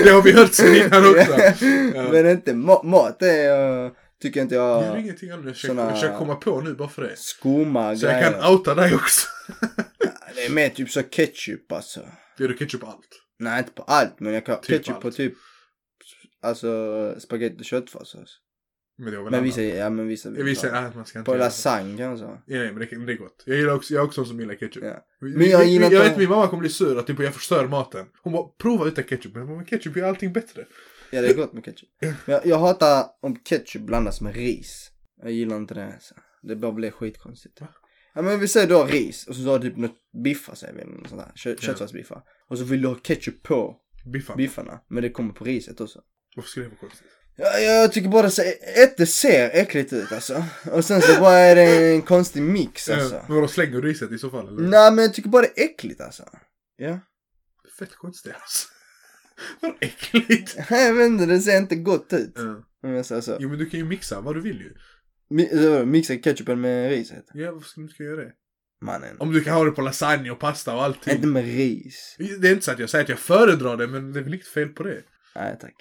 [SPEAKER 3] Det har vi hört
[SPEAKER 2] <laughs>
[SPEAKER 3] sen innan också. Ja.
[SPEAKER 2] Men inte mat. Mat det är, eh, tycker inte
[SPEAKER 3] Jag gör
[SPEAKER 2] jag...
[SPEAKER 3] ingenting annat. Jag försöker-
[SPEAKER 2] Såna-
[SPEAKER 3] jag försöker komma på nu bara för det.
[SPEAKER 2] Skumma
[SPEAKER 3] Så jag
[SPEAKER 2] grejer.
[SPEAKER 3] kan outa dig också.
[SPEAKER 2] Det är mer typ så ketchup alltså.
[SPEAKER 3] Gör du ketchup på allt?
[SPEAKER 2] Nej, inte på allt, men jag kan ha
[SPEAKER 3] Typ
[SPEAKER 2] ketchup
[SPEAKER 3] allt.
[SPEAKER 2] på typ Alltså spagetti och köttfärssås.
[SPEAKER 3] Men det var väl
[SPEAKER 2] Men
[SPEAKER 3] annat.
[SPEAKER 2] vissa, ja men vissa
[SPEAKER 3] Jag
[SPEAKER 2] vill
[SPEAKER 3] visar,
[SPEAKER 2] ta.
[SPEAKER 3] ah, man ska inte
[SPEAKER 2] På
[SPEAKER 3] göra så.
[SPEAKER 2] lasagne kanske.
[SPEAKER 3] Ja, ja, men det, kan- det är gott. Jag gillar också, jag är också en som gillar ketchup.
[SPEAKER 2] Ja.
[SPEAKER 3] Men
[SPEAKER 2] Men jag
[SPEAKER 3] jag,
[SPEAKER 2] gillar
[SPEAKER 3] jag,
[SPEAKER 2] inte-
[SPEAKER 3] vet min mamma kommer bli sur att typ, jag förstör maten. Hon bara, prova utan ketchup. Men mamma, ketchup gör allting bättre.
[SPEAKER 2] Ja det är gott med ketchup. Men Jag, jag hatar om ketchup blandas med ris. Jag gillar inte det alltså. Det bara blir skitkonstigt.
[SPEAKER 3] Va?
[SPEAKER 2] Ja men vi säger du har ris och så har du typ något biffar säger vi eller något sånt där. Kö, Köttfärsbiffar. Och så vill du ha ketchup på
[SPEAKER 3] Biffar.
[SPEAKER 2] biffarna. Men det kommer på riset också.
[SPEAKER 3] Varför skulle det vara konstigt?
[SPEAKER 2] Ja, jag tycker bara det ser, ett det ser äckligt ut alltså. Och sen så bara är det en konstig mix alltså.
[SPEAKER 3] Ja, men Eh, vadå, slänger du riset i så fall eller?
[SPEAKER 2] Nej men jag tycker bara det är äckligt alltså. Ja.
[SPEAKER 3] Fett konstigt alltså. <laughs> Vad
[SPEAKER 2] <laughs>
[SPEAKER 3] äckligt.
[SPEAKER 2] <laughs> Jag vet inte, det ser inte gott ut.
[SPEAKER 3] Ja.
[SPEAKER 2] Om jag säger så.
[SPEAKER 3] Jo men du kan ju mixa vad du vill ju.
[SPEAKER 2] Mi- så, mixa ketchupen med riset.
[SPEAKER 3] Ja varför skulle du inte göra det?
[SPEAKER 2] Mannen.
[SPEAKER 3] Om du kan ha det på lasagne och pasta och allting.
[SPEAKER 2] Inte med ris.
[SPEAKER 3] Det är inte så att jag säger att jag föredrar det men det är väl inget fel på det.
[SPEAKER 2] Nej
[SPEAKER 3] <laughs>
[SPEAKER 2] tack.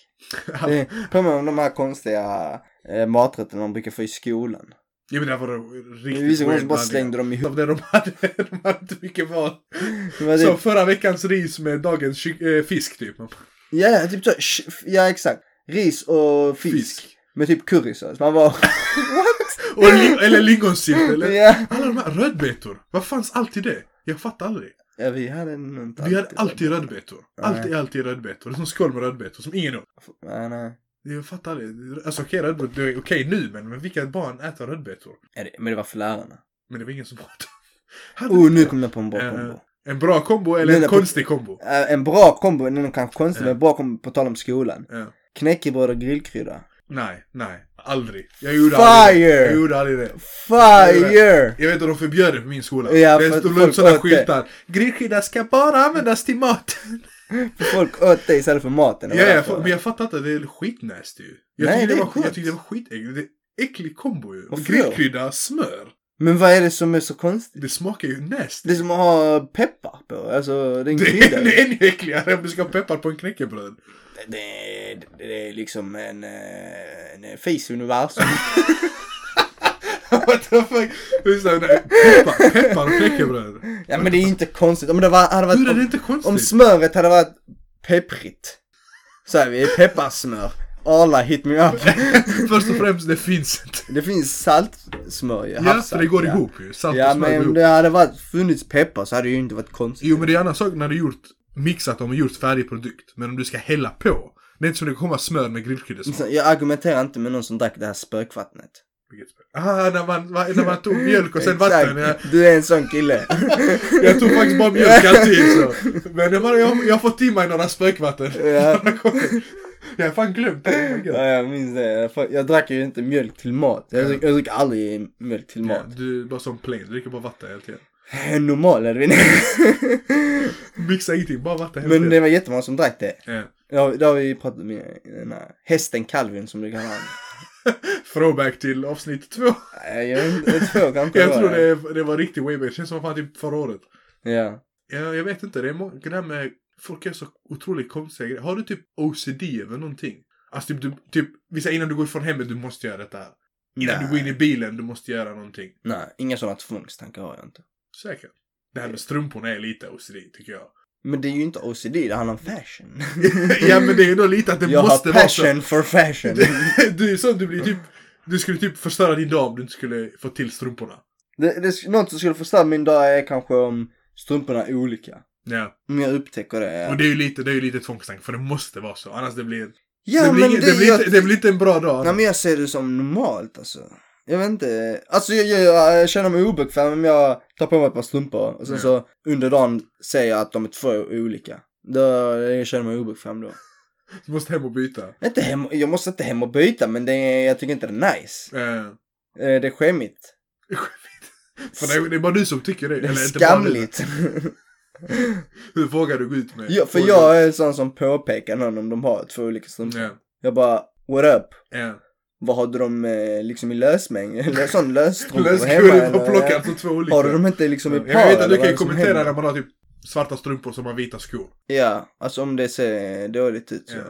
[SPEAKER 2] Det påminner om de här konstiga eh, maträtterna man brukar få i skolan.
[SPEAKER 3] Jo men det här var då riktigt
[SPEAKER 2] Vissa gånger så
[SPEAKER 3] weird
[SPEAKER 2] bara
[SPEAKER 3] blandning.
[SPEAKER 2] slängde de
[SPEAKER 3] <laughs>
[SPEAKER 2] ihop.
[SPEAKER 3] Av det de hade, de hade inte mycket val.
[SPEAKER 2] Det var
[SPEAKER 3] Som
[SPEAKER 2] typ,
[SPEAKER 3] förra veckans ris med dagens ky- eh, fisk typ. Man bara,
[SPEAKER 2] ja, ja, typ så, sh- ja exakt. Ris och fisk. Med typ currysås. Man bara... <laughs>
[SPEAKER 3] Och li- eller lingonsylt eller?
[SPEAKER 2] ja.
[SPEAKER 3] Alla de här rödbetor. Vad fanns alltid det? Jag fattar aldrig.
[SPEAKER 2] ja, vi hade nog inte
[SPEAKER 3] Vi hade alltid rödbetor. Alltid,
[SPEAKER 2] Nej.
[SPEAKER 3] alltid rödbetor. Det är som skål med rödbetor som ingen åt.
[SPEAKER 2] Nej, nej.
[SPEAKER 3] Jag fattar aldrig. Alltså okej rödbetor, det är okej nu men, men vilka barn äter rödbetor?
[SPEAKER 2] Ja, det- Men det var för lärarna.
[SPEAKER 3] Men det var ingen som åt dem. <laughs> Hade
[SPEAKER 2] Oh,
[SPEAKER 3] ni-
[SPEAKER 2] nu kom jag på en bra
[SPEAKER 3] Eh,
[SPEAKER 2] kombo.
[SPEAKER 3] En bra kombo eller
[SPEAKER 2] Nej,
[SPEAKER 3] en
[SPEAKER 2] nej, på-
[SPEAKER 3] konstig kombo?
[SPEAKER 2] Eh, En bra kombo, den är kanske konstig
[SPEAKER 3] Ja.
[SPEAKER 2] men en bra kombo på tal om skolan.
[SPEAKER 3] Ja.
[SPEAKER 2] Knäckebröd och grillkrydda.
[SPEAKER 3] Nej, nej. Aldrig. Jag gjorde aldrig det.
[SPEAKER 2] Fire!
[SPEAKER 3] Jag gjorde aldrig det.
[SPEAKER 2] Fire!
[SPEAKER 3] Jag vet att de förbjöd det på min skola.
[SPEAKER 2] Ja,
[SPEAKER 3] det
[SPEAKER 2] för att
[SPEAKER 3] stod
[SPEAKER 2] folk
[SPEAKER 3] upp sådana
[SPEAKER 2] åt det.
[SPEAKER 3] skyltar. Grillskydda ska bara användas till maten.
[SPEAKER 2] För folk åt det istället för maten.
[SPEAKER 3] Ja, ja, för- men jag fattar inte. Det är skitnäst ju. Jag,
[SPEAKER 2] Nej,
[SPEAKER 3] tyckte
[SPEAKER 2] det
[SPEAKER 3] det
[SPEAKER 2] är
[SPEAKER 3] var, jag
[SPEAKER 2] gott.
[SPEAKER 3] tyckte det var skitäckligt. Det är äcklig kombo ju.
[SPEAKER 2] Varför då?
[SPEAKER 3] Grillkrydda, smör.
[SPEAKER 2] Men vad är det som är så konstigt?
[SPEAKER 3] Det smakar ju näst.
[SPEAKER 2] Det är som att ha peppar på, alltså den
[SPEAKER 3] Det är,
[SPEAKER 2] kryddar
[SPEAKER 3] det
[SPEAKER 2] det,
[SPEAKER 3] är ännu äckligare om du ska ha peppar på en knäckebröd.
[SPEAKER 2] <laughs> det, det är liksom en, eh, en fis i universum.
[SPEAKER 3] What the fuck? Just det, nej, Peppar, <laughs> peppar och knäckebröd.
[SPEAKER 2] ja men det är ju inte konstigt. Om det var, hade varit...
[SPEAKER 3] Hur är det
[SPEAKER 2] om,
[SPEAKER 3] inte konstigt?
[SPEAKER 2] om smöret hade varit pepprigt. Säger vi, pepparsmör. Arla hit me up.
[SPEAKER 3] Först och främst, det finns inte.
[SPEAKER 2] Det finns saltsmör ju.
[SPEAKER 3] Ja, för det går
[SPEAKER 2] ja.
[SPEAKER 3] ihop ju. Salt
[SPEAKER 2] Ja
[SPEAKER 3] och smör går
[SPEAKER 2] men om
[SPEAKER 3] ihop.
[SPEAKER 2] det hade varit, funnits peppar så hade det ju inte varit konstigt.
[SPEAKER 3] Jo men det är en annan sak när du gjort mixat dem och gjort färdig produkt. Men om du ska hälla på. Det är inte som det kommer smör med grillkryddesmak.
[SPEAKER 2] Så Jag argumenterar inte med någon som drack det här spökvattnet.
[SPEAKER 3] Vilket smör? Ah, när man, va- när man tog mjölk och sen
[SPEAKER 2] Exakt.
[SPEAKER 3] vatten. Jag,
[SPEAKER 2] Du är en sån
[SPEAKER 3] <laughs>
[SPEAKER 2] kille.
[SPEAKER 3] jag tog faktiskt
[SPEAKER 2] <laughs>
[SPEAKER 3] bara mjölk alltid så. Men det var, jag, jag har fått i mig några spökvatten. <laughs>
[SPEAKER 2] Ja.
[SPEAKER 3] jag har fan glömt det. Oh my God.
[SPEAKER 2] Ja, jag minns det. Jag, fa- jag drack ju inte mjölk till mat. Jag, drick, jag dricker aldrig mjölk till
[SPEAKER 3] Ja,
[SPEAKER 2] mat.
[SPEAKER 3] du är bara som plain, du dricker bara vatten hela tiden.
[SPEAKER 2] Normal är det
[SPEAKER 3] <laughs>
[SPEAKER 2] väl.
[SPEAKER 3] Mixa ingenting, bara vatten hela
[SPEAKER 2] Men det
[SPEAKER 3] tiden.
[SPEAKER 2] var jättemånga som drack det.
[SPEAKER 3] Ja.
[SPEAKER 2] Ja, det har vi ju pratat om i den här hästen Calvin som du kallar honom.
[SPEAKER 3] Throwback till avsnitt två.
[SPEAKER 2] Nej, Jag vet inte, två kanske
[SPEAKER 3] <laughs> Jag
[SPEAKER 2] var
[SPEAKER 3] tror det, det var riktigt way back, det känns som fan typ förra året.
[SPEAKER 2] Ja.
[SPEAKER 3] Jag, jag vet inte, det är må- det där med folk gör så otroligt konstiga grejer. Har du typ OCD över någonting? Alltså typ, du, typ vi säger innan du går ifrån hemmet, du måste göra detta här. Innan du går in i bilen, du måste göra någonting.
[SPEAKER 2] Nej, inga sådana tvångstankar har jag inte.
[SPEAKER 3] Säkert. Det här med strumporna är lite OCD, tycker jag.
[SPEAKER 2] Men det är ju inte OCD, det handlar om fashion.
[SPEAKER 3] <laughs> ja, men det är ändå lite att det
[SPEAKER 2] jag
[SPEAKER 3] måste
[SPEAKER 2] har
[SPEAKER 3] vara så.
[SPEAKER 2] passion for fashion.
[SPEAKER 3] <laughs> du är sån, du blir typ... Du skulle typ förstöra din dag om du inte skulle få till strumporna.
[SPEAKER 2] Det, det, något som skulle förstöra min dag är kanske om strumporna är olika.
[SPEAKER 3] Ja.
[SPEAKER 2] Om jag upptäcker det.
[SPEAKER 3] Och det är ju lite, det är ju lite tvångstanke, för det måste vara så. Annars det blir...
[SPEAKER 2] ja,
[SPEAKER 3] det, blir
[SPEAKER 2] men
[SPEAKER 3] ingen-
[SPEAKER 2] det,
[SPEAKER 3] det, blir
[SPEAKER 2] jag,
[SPEAKER 3] inte, det blir inte en bra dag.
[SPEAKER 2] Nej, men jag ser det som normalt alltså. Jag vet inte. Alltså jag, jag, jag känner mig obekväm om jag tar på mig ett par strumpor och sen
[SPEAKER 3] Ja.
[SPEAKER 2] så under dagen säger jag att de är två olika. Då, jag känner mig obekväm då.
[SPEAKER 3] Du måste hem och byta.
[SPEAKER 2] Inte hem, jag måste inte hem och byta men det, är- jag tycker inte det är nice.
[SPEAKER 3] Eh, <laughs>
[SPEAKER 2] Eh, Det är skämmigt.
[SPEAKER 3] För det är, det är bara du som tycker det.
[SPEAKER 2] Det är
[SPEAKER 3] eller inte bara du.
[SPEAKER 2] skamligt.
[SPEAKER 3] Hur vågar du gå ut med?
[SPEAKER 2] <laughs> ja, för
[SPEAKER 3] Vågar-
[SPEAKER 2] jag är en sån som påpekar någon om de har två olika strumpor.
[SPEAKER 3] Ja, Eh,
[SPEAKER 2] Jag bara, what up?
[SPEAKER 3] ja.
[SPEAKER 2] Vad hade de eh, liksom i lösmängd? <laughs> Eller sån lösstrumpa
[SPEAKER 3] Lösguldet var
[SPEAKER 2] eller?
[SPEAKER 3] plockat som alltså två olika.
[SPEAKER 2] Har du dem inte liksom i par?
[SPEAKER 3] Jag vet att
[SPEAKER 2] eller
[SPEAKER 3] du
[SPEAKER 2] vad är
[SPEAKER 3] kan
[SPEAKER 2] det som
[SPEAKER 3] kommentera
[SPEAKER 2] händer?
[SPEAKER 3] när man har typ svarta strumpor som har vita skor.
[SPEAKER 2] Ja, alltså om det ser dåligt ut så
[SPEAKER 3] Ja.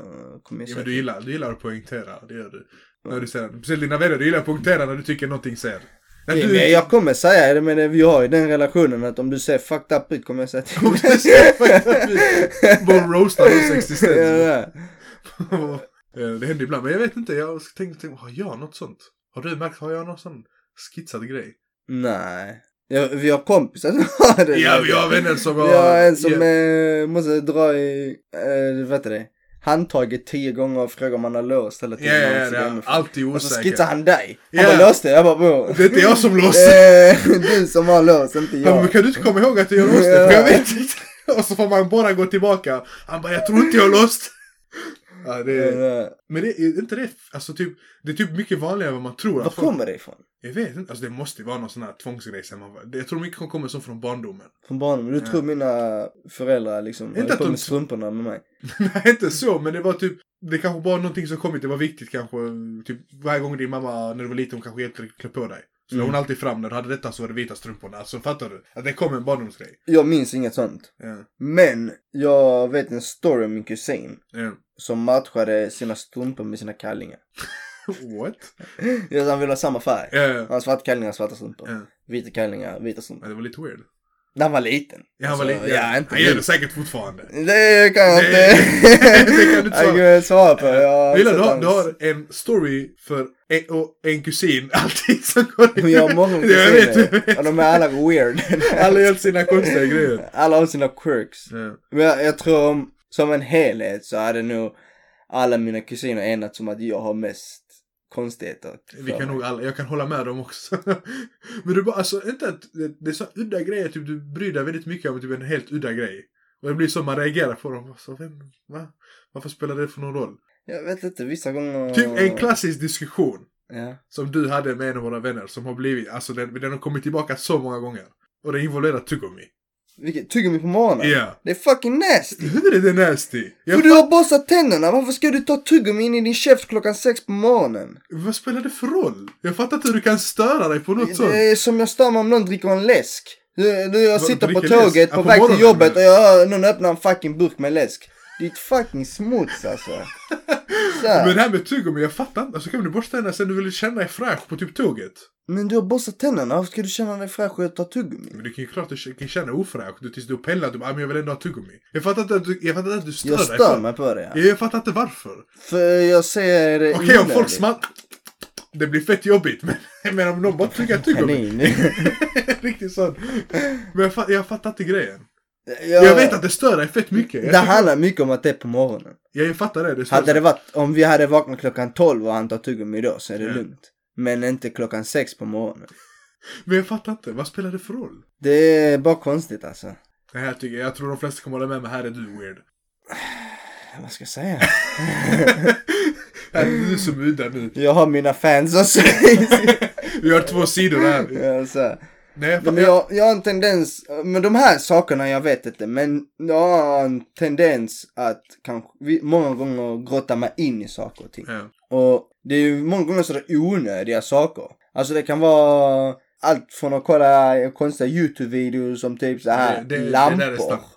[SPEAKER 2] kommer jag
[SPEAKER 3] Ja,
[SPEAKER 2] säga
[SPEAKER 3] men du
[SPEAKER 2] det.
[SPEAKER 3] gillar, du gillar att poängtera, det gör du. När du ser, speciellt dina vänner, du gillar att poängtera när du tycker någonting ser. När
[SPEAKER 2] Nej,
[SPEAKER 3] du,
[SPEAKER 2] men jag kommer säga det, men det- vi har ju den relationen att om du ser fucked up ut kommer jag säga till
[SPEAKER 3] Om du ser fucked up ut, bara roastar oss existens.
[SPEAKER 2] <laughs> Ja, det där.
[SPEAKER 3] <laughs> Eh, det händer ibland, men jag vet inte, jag tänkte, tänkte, har jag något sånt? Har du märkt, har jag någon sån skissad grej?
[SPEAKER 2] Nej. Ja, vi har kompisar som har det.
[SPEAKER 3] Ja, vi har vänner som har...
[SPEAKER 2] Vi har en som
[SPEAKER 3] Ja.
[SPEAKER 2] eh, måste dra i, eh, vet du det, handtaget tio gånger och fråga om han har låst hela
[SPEAKER 3] Ja,
[SPEAKER 2] tiden. när han
[SPEAKER 3] ja,
[SPEAKER 2] sitter
[SPEAKER 3] ja.
[SPEAKER 2] hemifrån.
[SPEAKER 3] Alltid
[SPEAKER 2] Och så
[SPEAKER 3] osäker.
[SPEAKER 2] skissar Alltså, han dig. Han
[SPEAKER 3] Ja.
[SPEAKER 2] bara låste, jag bara bro.
[SPEAKER 3] Det är inte jag som låser.
[SPEAKER 2] Eh, <laughs> du som har låst, inte
[SPEAKER 3] Han bara,
[SPEAKER 2] jag.
[SPEAKER 3] men kan du inte komma ihåg att jag låste? För jag vet inte. <laughs> Och så får man bara gå tillbaka. Han bara, jag tror inte jag låst. <laughs> Ja, det är...
[SPEAKER 2] Eh,
[SPEAKER 3] Men det är inte det, alltså typ, det är typ mycket vanligare än vad man tror.
[SPEAKER 2] Var
[SPEAKER 3] Att
[SPEAKER 2] kommer det ifrån?
[SPEAKER 3] jag vet inte, alltså det måste ju vara någon sån här tvångsgrej. Sen man, var- det- jag tror mycket kommer som från barndomen. <laughs>
[SPEAKER 2] Från barndomen? Du
[SPEAKER 3] Ja.
[SPEAKER 2] tror mina föräldrar liksom
[SPEAKER 3] Inte
[SPEAKER 2] höll
[SPEAKER 3] att
[SPEAKER 2] på
[SPEAKER 3] de-
[SPEAKER 2] med strumporna med mig?
[SPEAKER 3] Nej, inte så, men det var typ, det kanske bara någonting som kommit, det var viktigt kanske. Typ varje gång din mamma, när du var liten, hon kanske hjälpte dig att klä på dig. Så la
[SPEAKER 2] Mm.
[SPEAKER 3] hon alltid fram, när du hade detta så var det vita strumporna. Alltså fattar du? Att det kom en barndomsgrej.
[SPEAKER 2] Jag minns inget sånt.
[SPEAKER 3] Ja,
[SPEAKER 2] Men jag vet en story om min kusin <laughs>
[SPEAKER 3] ja.
[SPEAKER 2] som matchade sina strumpor med sina kallingar.
[SPEAKER 3] What?
[SPEAKER 2] Jag sa han ville ha samma färg.
[SPEAKER 3] Ja, ja.
[SPEAKER 2] Han hade svarta kallingar, svarta strumpor.
[SPEAKER 3] Ja.
[SPEAKER 2] Vita kallingar, vita
[SPEAKER 3] Ja,
[SPEAKER 2] strumpor.
[SPEAKER 3] det var lite weird.
[SPEAKER 2] När han var liten.
[SPEAKER 3] Ja, han var
[SPEAKER 2] Så,
[SPEAKER 3] lite,
[SPEAKER 2] Alltså, Ja, inte
[SPEAKER 3] han gör
[SPEAKER 2] nu.
[SPEAKER 3] det säkert fortfarande.
[SPEAKER 2] Det kan jag
[SPEAKER 3] Det-
[SPEAKER 2] inte.
[SPEAKER 3] <laughs> det kan du inte
[SPEAKER 2] <laughs> Jag kan inte svara på. Jag har
[SPEAKER 3] Jag gillar
[SPEAKER 2] sett
[SPEAKER 3] du har,
[SPEAKER 2] hans-
[SPEAKER 3] du har en story för en, och en kusin <laughs> alltid som
[SPEAKER 2] <laughs>
[SPEAKER 3] går
[SPEAKER 2] Men Jag har många
[SPEAKER 3] Jag vet, jag
[SPEAKER 2] kusiner.
[SPEAKER 3] vet.
[SPEAKER 2] Och de är alla weird.
[SPEAKER 3] <laughs> Alla gör sina konstiga grejer.
[SPEAKER 2] Alla har sina quirks.
[SPEAKER 3] Ja.
[SPEAKER 2] Men jag, jag tror om, som en helhet så hade nog alla mina kusiner enats om att jag har mest konstigheter.
[SPEAKER 3] Vi kan nog alla, jag kan hålla med dem också. <laughs> Men du bara, alltså inte att, det, det är så udda grejer, typ du bryr dig väldigt mycket om typ en helt udda grej. Och det blir så man reagerar på dem. Så, vem, va? Varför spelar det för någon roll?
[SPEAKER 2] Jag vet inte, vissa gånger...
[SPEAKER 3] Typ en klassisk diskussion
[SPEAKER 2] Ja.
[SPEAKER 3] som du hade med en av våra vänner som har blivit, alltså den, den har kommit tillbaka så många gånger. Och den involverar tuggummi.
[SPEAKER 2] Vilket tuggummi på morgonen?
[SPEAKER 3] Ja.
[SPEAKER 2] Det är fucking nasty!
[SPEAKER 3] Hur är det nasty?
[SPEAKER 2] För
[SPEAKER 3] Jag,
[SPEAKER 2] du har borstat tänderna, varför ska du ta tuggummi in i din käft klockan sex på morgonen?
[SPEAKER 3] Vad spelar det för roll? Jag fattar inte hur du kan störa dig på något sånt.
[SPEAKER 2] Det är som jag stör mig om någon dricker en läsk. Du, du, jag
[SPEAKER 3] Vad,
[SPEAKER 2] sitter på
[SPEAKER 3] dricker läsk?
[SPEAKER 2] tåget
[SPEAKER 3] Ja,
[SPEAKER 2] på
[SPEAKER 3] på
[SPEAKER 2] väg till
[SPEAKER 3] morgonen,
[SPEAKER 2] jobbet och
[SPEAKER 3] men-
[SPEAKER 2] jag hör någon öppna en fucking burk med läsk. Ditt fucking smuts
[SPEAKER 3] <laughs>
[SPEAKER 2] alltså. Så här.
[SPEAKER 3] Men det här med tuggummi, jag fattar inte. Alltså kan du borsta tänderna sen du vill känna dig fräsch på typ tåget?
[SPEAKER 2] Men du har borstat tänderna, varför ska du känna dig fräsch och jag tar tuggummi?
[SPEAKER 3] Men du kan ju klart du k- kan känna ofräsch du, tills du har pellat och bara, "Ah, men jag vill ändå ha tuggummi. Jag fattar inte att du, jag fattar inte att du stör
[SPEAKER 2] Jag
[SPEAKER 3] dig.
[SPEAKER 2] stör
[SPEAKER 3] på-
[SPEAKER 2] mig på det. Ja.
[SPEAKER 3] Ja, Jag fattar inte varför.
[SPEAKER 2] För jag ser det
[SPEAKER 3] Okej om
[SPEAKER 2] onödigt.
[SPEAKER 3] folk smatt... Det blir fett jobbigt. <laughs> Men, men om någon bara tuggar tuggummi.
[SPEAKER 2] Kanin.
[SPEAKER 3] Riktigt sån. Men jag, fa- jag fattar inte grejen.
[SPEAKER 2] jag,
[SPEAKER 3] <laughs> Jag vet att det stör dig fett mycket. Jag,
[SPEAKER 2] Det
[SPEAKER 3] tycker-
[SPEAKER 2] handlar mycket om att det är på morgonen.
[SPEAKER 3] ja, jag fattar det. det är så-
[SPEAKER 2] Hade det varit, om vi hade vaknat klockan 12 och han tar tuggummi då så är det
[SPEAKER 3] Ja.
[SPEAKER 2] lugnt. Men inte klockan 6 på morgonen.
[SPEAKER 3] Men jag fattar inte. Vad spelar det för roll?
[SPEAKER 2] Det är bara konstigt alltså.
[SPEAKER 3] Det här tycker jag, jag tror de flesta kommer hålla med mig. Här är du weird.
[SPEAKER 2] Vad ska jag säga?
[SPEAKER 3] <laughs> här är du som udda nu.
[SPEAKER 2] <laughs> Jag har mina fans <laughs> också.
[SPEAKER 3] Vi har två sidor här.
[SPEAKER 2] alltså.
[SPEAKER 3] Nej, jag,
[SPEAKER 2] Men
[SPEAKER 3] fattar-
[SPEAKER 2] jag, jag har en tendens, men de här sakerna jag vet inte, men jag har en tendens att kanske, vi- många gånger grotta mig in i saker och ting.
[SPEAKER 3] Ja.
[SPEAKER 2] Och det är ju många gånger sådär onödiga saker. Alltså det kan vara allt från att kolla konstiga YouTube-videos som typ så här
[SPEAKER 3] Det- det- det där är
[SPEAKER 2] lampor.
[SPEAKER 3] snack. <laughs>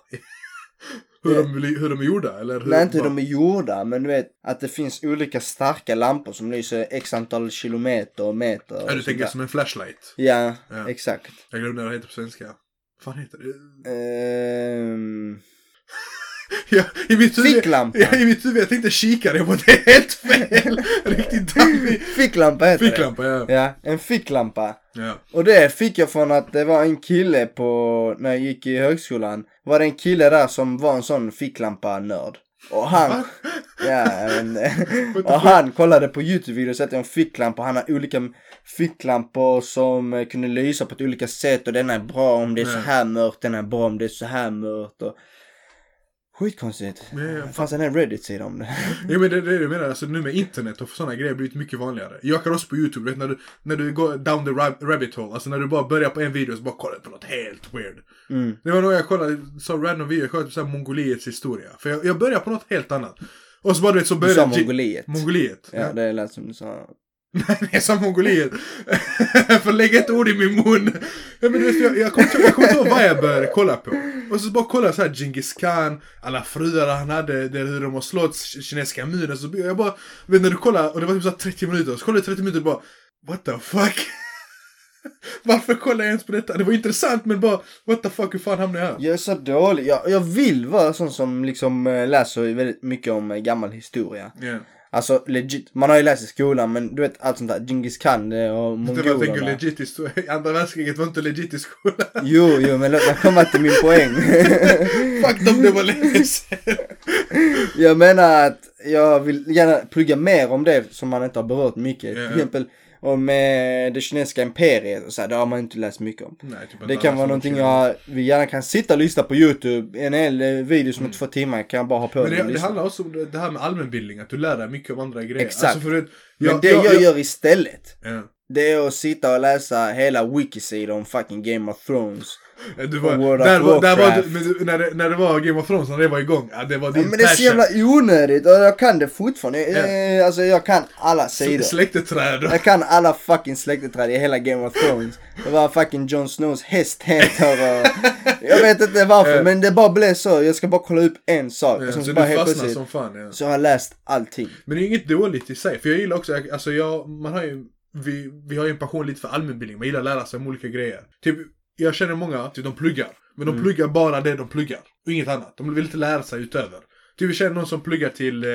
[SPEAKER 3] Hur, de, blir- hur de är gjorda? Eller hur
[SPEAKER 2] Nej, inte hur
[SPEAKER 3] bara-
[SPEAKER 2] de är gjorda, men du vet att det finns olika starka lampor som lyser x antal kilometer och meter. och
[SPEAKER 3] Ja, du
[SPEAKER 2] sånt
[SPEAKER 3] tänker
[SPEAKER 2] där.
[SPEAKER 3] som en flashlight.
[SPEAKER 2] Ja,
[SPEAKER 3] Ja. <laughs>
[SPEAKER 2] exakt.
[SPEAKER 3] Jag glömde vad det heter på svenska. Vad fan heter det?
[SPEAKER 2] Eh, Ehm,
[SPEAKER 3] <laughs> Ja, i mitt huvud,
[SPEAKER 2] Ficklampa.
[SPEAKER 3] ja, i mitt huvud, jag tänkte kikare, jag bara det är <laughs> helt fel! Riktigt dammig.
[SPEAKER 2] <laughs> Ficklampa heter
[SPEAKER 3] Ficklampa, ja.
[SPEAKER 2] det. Ja, en ficklampa.
[SPEAKER 3] ja.
[SPEAKER 2] Och det fick jag från att det var en kille på, när jag gick i högskolan, var det en kille där som var en sån ficklampa-nörd. Och han, ja,
[SPEAKER 3] <laughs>
[SPEAKER 2] men, <laughs> och han kollade på YouTube-videos att en ficklampa, han har olika ficklampor som eh, kunde lysa på ett olika sätt och denna är bra om det är så
[SPEAKER 3] Mm.
[SPEAKER 2] här mörkt, denna är bra om det är så här mörkt och Skitkonstigt.
[SPEAKER 3] Ja, ja,
[SPEAKER 2] Det fanns en hel Reddit-sida <laughs> om det.
[SPEAKER 3] ja men det är det jag menar, alltså, nu med internet och sådana grejer har blivit mycket vanligare. Jag kan också på YouTube, vet, när, du, när du går down the rab- rabbit hole, alltså när du bara börjar på en video och så bara kollar du på något helt weird.
[SPEAKER 2] Mm.
[SPEAKER 3] Det var nog jag kollade, så random video, jag kollade på så här Mongoliets historia. För jag, jag började på något helt annat. Och så bara du vet, så
[SPEAKER 2] Du sa
[SPEAKER 3] började...
[SPEAKER 2] Mongoliet.
[SPEAKER 3] Mongoliet.
[SPEAKER 2] Ja, det lät som du sa.
[SPEAKER 3] <laughs> Nej, jag sa Mongoliet. För lägg ett ord i min mun. Ja, men du vet, jag, jag kommer inte jag kommer inte ihåg vad jag började kolla på. Och så bara kolla så här Genghis Khan, alla fruar han hade, det, hur de har slått kinesiska muren. Så jag bara, vet när du kollar, och det var typ så här 30 minuter, så kollade jag 30 minuter och bara, what the fuck? <laughs> Varför kollar jag ens på detta? Det var intressant men bara, what the fuck, hur fan hamnade jag här?
[SPEAKER 2] Jag är så dålig. Jag, jag vill vara sån som liksom eh, läser ju väldigt mycket om eh, gammal historia.
[SPEAKER 3] Ja.
[SPEAKER 2] Alltså legit, man har ju läst i skolan men du vet allt sånt där, Djingis Khan eh, och
[SPEAKER 3] Det var, jag tänker
[SPEAKER 2] mongolerna.
[SPEAKER 3] legit i sto- andra världskriget var inte legit i skolan.
[SPEAKER 2] Jo, jo men låt mig komma till min poäng. <laughs>
[SPEAKER 3] <laughs> fuck dem, det var länge sedan.
[SPEAKER 2] jag menar att jag vill gärna plugga mer om det som man inte har berört mycket.
[SPEAKER 3] Ja, ja.
[SPEAKER 2] Till exempel om eh, det kinesiska imperiet och så här, det har man inte läst mycket om.
[SPEAKER 3] Nej, typ
[SPEAKER 2] Det
[SPEAKER 3] inte
[SPEAKER 2] kan
[SPEAKER 3] alls
[SPEAKER 2] vara någonting jag, vi gärna kan sitta och lyssna på YouTube. En hel eh, video som är två timmar kan jag bara ha på
[SPEAKER 3] Mm. Men
[SPEAKER 2] den och
[SPEAKER 3] det, det
[SPEAKER 2] lyssna.
[SPEAKER 3] handlar också om det, det här med allmänbildning, att du lär dig mycket om andra grejer. Alltså,
[SPEAKER 2] Exakt.
[SPEAKER 3] för det,
[SPEAKER 2] Men det jag, gör istället,
[SPEAKER 3] jag,
[SPEAKER 2] det är att sitta och läsa hela wikisidor om fucking Game of Thrones.
[SPEAKER 3] ja, du var,
[SPEAKER 2] World of
[SPEAKER 3] där var, där var du,
[SPEAKER 2] Warcraft.
[SPEAKER 3] men du, när, det, när det var Game of Thrones, när det var igång, ja, det var
[SPEAKER 2] Ja,
[SPEAKER 3] din
[SPEAKER 2] men det är så jävla onödigt och jag kan det fortfarande. Jag, eh, alltså jag kan alla sidor.
[SPEAKER 3] Släkteträd. och-
[SPEAKER 2] Jag kan alla fucking släkteträd i hela Game of Thrones. Det var fucking Jon Snows häst heter och...
[SPEAKER 3] <laughs>
[SPEAKER 2] Jag vet inte varför
[SPEAKER 3] Eh.
[SPEAKER 2] men det bara blev så. Jag ska bara kolla upp en sak.
[SPEAKER 3] Ja,
[SPEAKER 2] och sen
[SPEAKER 3] Så
[SPEAKER 2] så
[SPEAKER 3] du
[SPEAKER 2] bara helt
[SPEAKER 3] fastnar
[SPEAKER 2] plötsligt.
[SPEAKER 3] som fan. Ja.
[SPEAKER 2] Så har jag läst allting.
[SPEAKER 3] Men det är ju inget dåligt i sig, för jag gillar också, jag- alltså jag, man har ju, vi, vi har ju en passion lite för allmänbildning, man gillar att lära sig om olika grejer. Typ, jag känner många, typ de pluggar, men
[SPEAKER 2] Mm.
[SPEAKER 3] de pluggar bara det de pluggar, och inget annat. De vill inte lära sig utöver. Typ vi känner någon som pluggar till, eh,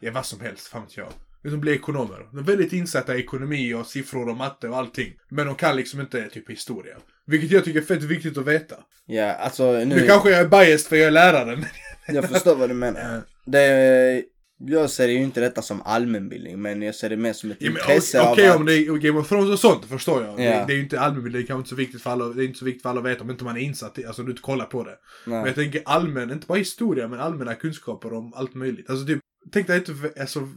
[SPEAKER 3] ja vad som helst, fan vet jag. Men De blir ekonomer. De är väldigt insatta i ekonomi och siffror och matte och allting. Men de kan liksom inte typ historia. Vilket jag tycker är fett viktigt att veta.
[SPEAKER 2] Ja, alltså
[SPEAKER 3] Nu
[SPEAKER 2] nu...
[SPEAKER 3] kanske jag är biased för jag är lärare. Men...
[SPEAKER 2] Jag förstår
[SPEAKER 3] <laughs>
[SPEAKER 2] vad du menar. Det, jag ser ju inte detta som allmänbildning, men jag ser det mer som ett
[SPEAKER 3] Ja, men
[SPEAKER 2] intresse
[SPEAKER 3] Okej
[SPEAKER 2] av
[SPEAKER 3] om det är Game of Thrones och sånt, förstår jag.
[SPEAKER 2] Ja.
[SPEAKER 3] Det, det är ju inte allmänbildning, det är kanske inte så viktigt för alla, det är inte så viktigt för alla att veta om inte man är insatt i, alltså du inte kollar på det.
[SPEAKER 2] Nej.
[SPEAKER 3] Men jag tänker allmän, inte bara historia, men allmänna kunskaper om allt möjligt. Alltså typ, Tänk dig inte, vä- alltså,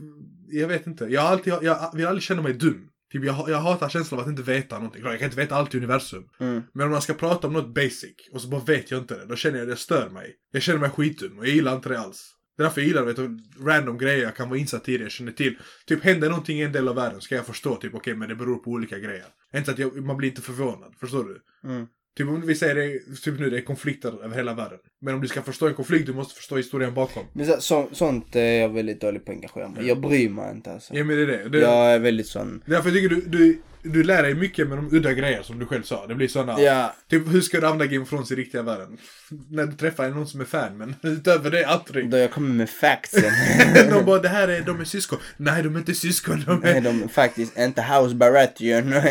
[SPEAKER 3] jag vet inte. Jag, har alltid, jag, jag vill aldrig känna mig dum. Typ jag, jag hatar känslan av att inte veta någonting. Klart, Jag kan inte veta allt i universum.
[SPEAKER 2] Mm.
[SPEAKER 3] Men om man ska prata om något basic och så bara vet jag inte det, då känner jag att det stör mig. Jag känner mig skitdum och jag gillar inte det alls. Det är därför jag gillar vet, du, random grejer jag kan vara insatt i, det jag känner till. Typ händer någonting i en del av världen ska jag förstå typ okej men det beror på olika grejer. Inte att jag, man blir inte förvånad, förstår du?
[SPEAKER 2] Mm.
[SPEAKER 3] Typ om vi säger det, typ nu det är konflikter över hela världen. Men om du ska förstå en konflikt du måste förstå historien bakom.
[SPEAKER 2] Men så, så, sånt är jag väldigt dålig på att engagera mig. Jag bryr mig inte alltså.
[SPEAKER 3] Ja men det är det. det
[SPEAKER 2] Jag är väldigt sån.
[SPEAKER 3] Därför tycker jag du, du, du lär dig mycket med de udda grejer som du själv sa. Det blir sådana.
[SPEAKER 2] Ja.
[SPEAKER 3] Typ hur ska du använda Game of Thrones i riktiga världen? <laughs> När du träffar någon som är fan men <laughs> utöver det aldrig.
[SPEAKER 2] Då jag kommer med factsen.
[SPEAKER 3] <laughs> de bara det här är, de är syskon. Nej de är inte syskon. De
[SPEAKER 2] Nej,
[SPEAKER 3] är...
[SPEAKER 2] de är faktiskt inte House Baratheon.
[SPEAKER 3] <laughs>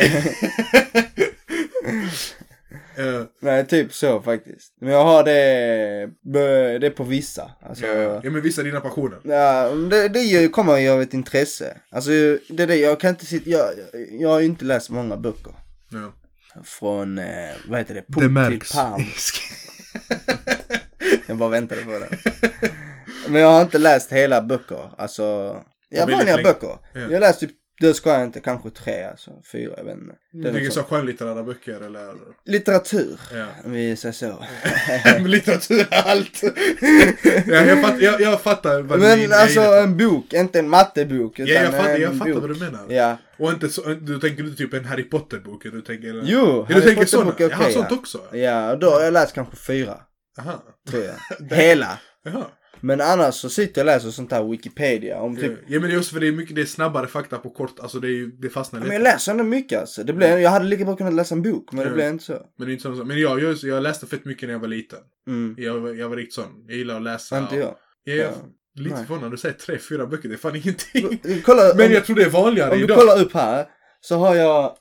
[SPEAKER 3] Eh,
[SPEAKER 2] <laughs> Nej, typ så faktiskt. Men jag har det, det är på vissa. Alltså,
[SPEAKER 3] ja, men vissa dina passioner.
[SPEAKER 2] Ja, men det, det ju- kommer ju av ett intresse. Alltså, det är det, jag kan inte sitta, jag, jag har ju inte läst många böcker.
[SPEAKER 3] Ja.
[SPEAKER 2] Från, eh, vad heter det, Pump till <laughs> Palm.
[SPEAKER 3] <laughs>
[SPEAKER 2] Jag bara väntade på det. Men jag har inte läst hela böcker, alltså. Jag har
[SPEAKER 3] väldigt
[SPEAKER 2] vanliga
[SPEAKER 3] länge.
[SPEAKER 2] böcker.
[SPEAKER 3] Ja.
[SPEAKER 2] Jag har läst typ, det ska jag inte, kanske tre alltså, fyra, jag vet inte. Det är
[SPEAKER 3] Vilken
[SPEAKER 2] något sånt.
[SPEAKER 3] Mm. så skönlitterära böcker eller?
[SPEAKER 2] <laughs> Litteratur,
[SPEAKER 3] Ja.
[SPEAKER 2] om vi säger
[SPEAKER 3] <laughs>
[SPEAKER 2] så.
[SPEAKER 3] Litteratur är allt. ja, jag, fatt, jag, jag fattar vad du
[SPEAKER 2] Men
[SPEAKER 3] menar.
[SPEAKER 2] alltså en bok, inte en mattebok. Utan
[SPEAKER 3] Ja, jag fattar,
[SPEAKER 2] en
[SPEAKER 3] jag fattar
[SPEAKER 2] bok.
[SPEAKER 3] vad du menar.
[SPEAKER 2] Ja.
[SPEAKER 3] Och inte så, du tänker inte typ en Harry Potter-bok? eller Du tänker, eller?
[SPEAKER 2] Jo,
[SPEAKER 3] Ja,
[SPEAKER 2] Harry
[SPEAKER 3] du tänker
[SPEAKER 2] Potter-bok
[SPEAKER 3] såna.
[SPEAKER 2] är
[SPEAKER 3] Jag har
[SPEAKER 2] okej,
[SPEAKER 3] sånt
[SPEAKER 2] ja.
[SPEAKER 3] också?
[SPEAKER 2] Ja, och då har jag läst kanske fyra,
[SPEAKER 3] Aha.
[SPEAKER 2] tror jag.
[SPEAKER 3] <laughs>
[SPEAKER 2] Hela.
[SPEAKER 3] Jaha.
[SPEAKER 2] Men annars så sitter jag och läser sånt här Wikipedia om typ
[SPEAKER 3] Ja, men det är också för det är mycket det är snabbare fakta på kort, alltså det, är, ju- det fastnar
[SPEAKER 2] Men
[SPEAKER 3] lite.
[SPEAKER 2] jag läser ändå mycket alltså. Det
[SPEAKER 3] Mm.
[SPEAKER 2] blev, jag hade lika bra kunnat läsa en bok, men det
[SPEAKER 3] Ja.
[SPEAKER 2] blev inte så.
[SPEAKER 3] Men det är inte så, men jag, jag, jag läste fett mycket när jag var liten.
[SPEAKER 2] Mm.
[SPEAKER 3] Jag, var- jag var riktigt sån. Jag gillar att läsa.
[SPEAKER 2] Inte jag.
[SPEAKER 3] Ja, jag är
[SPEAKER 2] Ja.
[SPEAKER 3] lite
[SPEAKER 2] Nej.
[SPEAKER 3] förvånad. Du säger tre, fyra böcker, det är fan ingenting.
[SPEAKER 2] Kolla,
[SPEAKER 3] <laughs> Men
[SPEAKER 2] om,
[SPEAKER 3] jag tror det är vanligare
[SPEAKER 2] om du
[SPEAKER 3] idag.
[SPEAKER 2] kollar upp här så har jag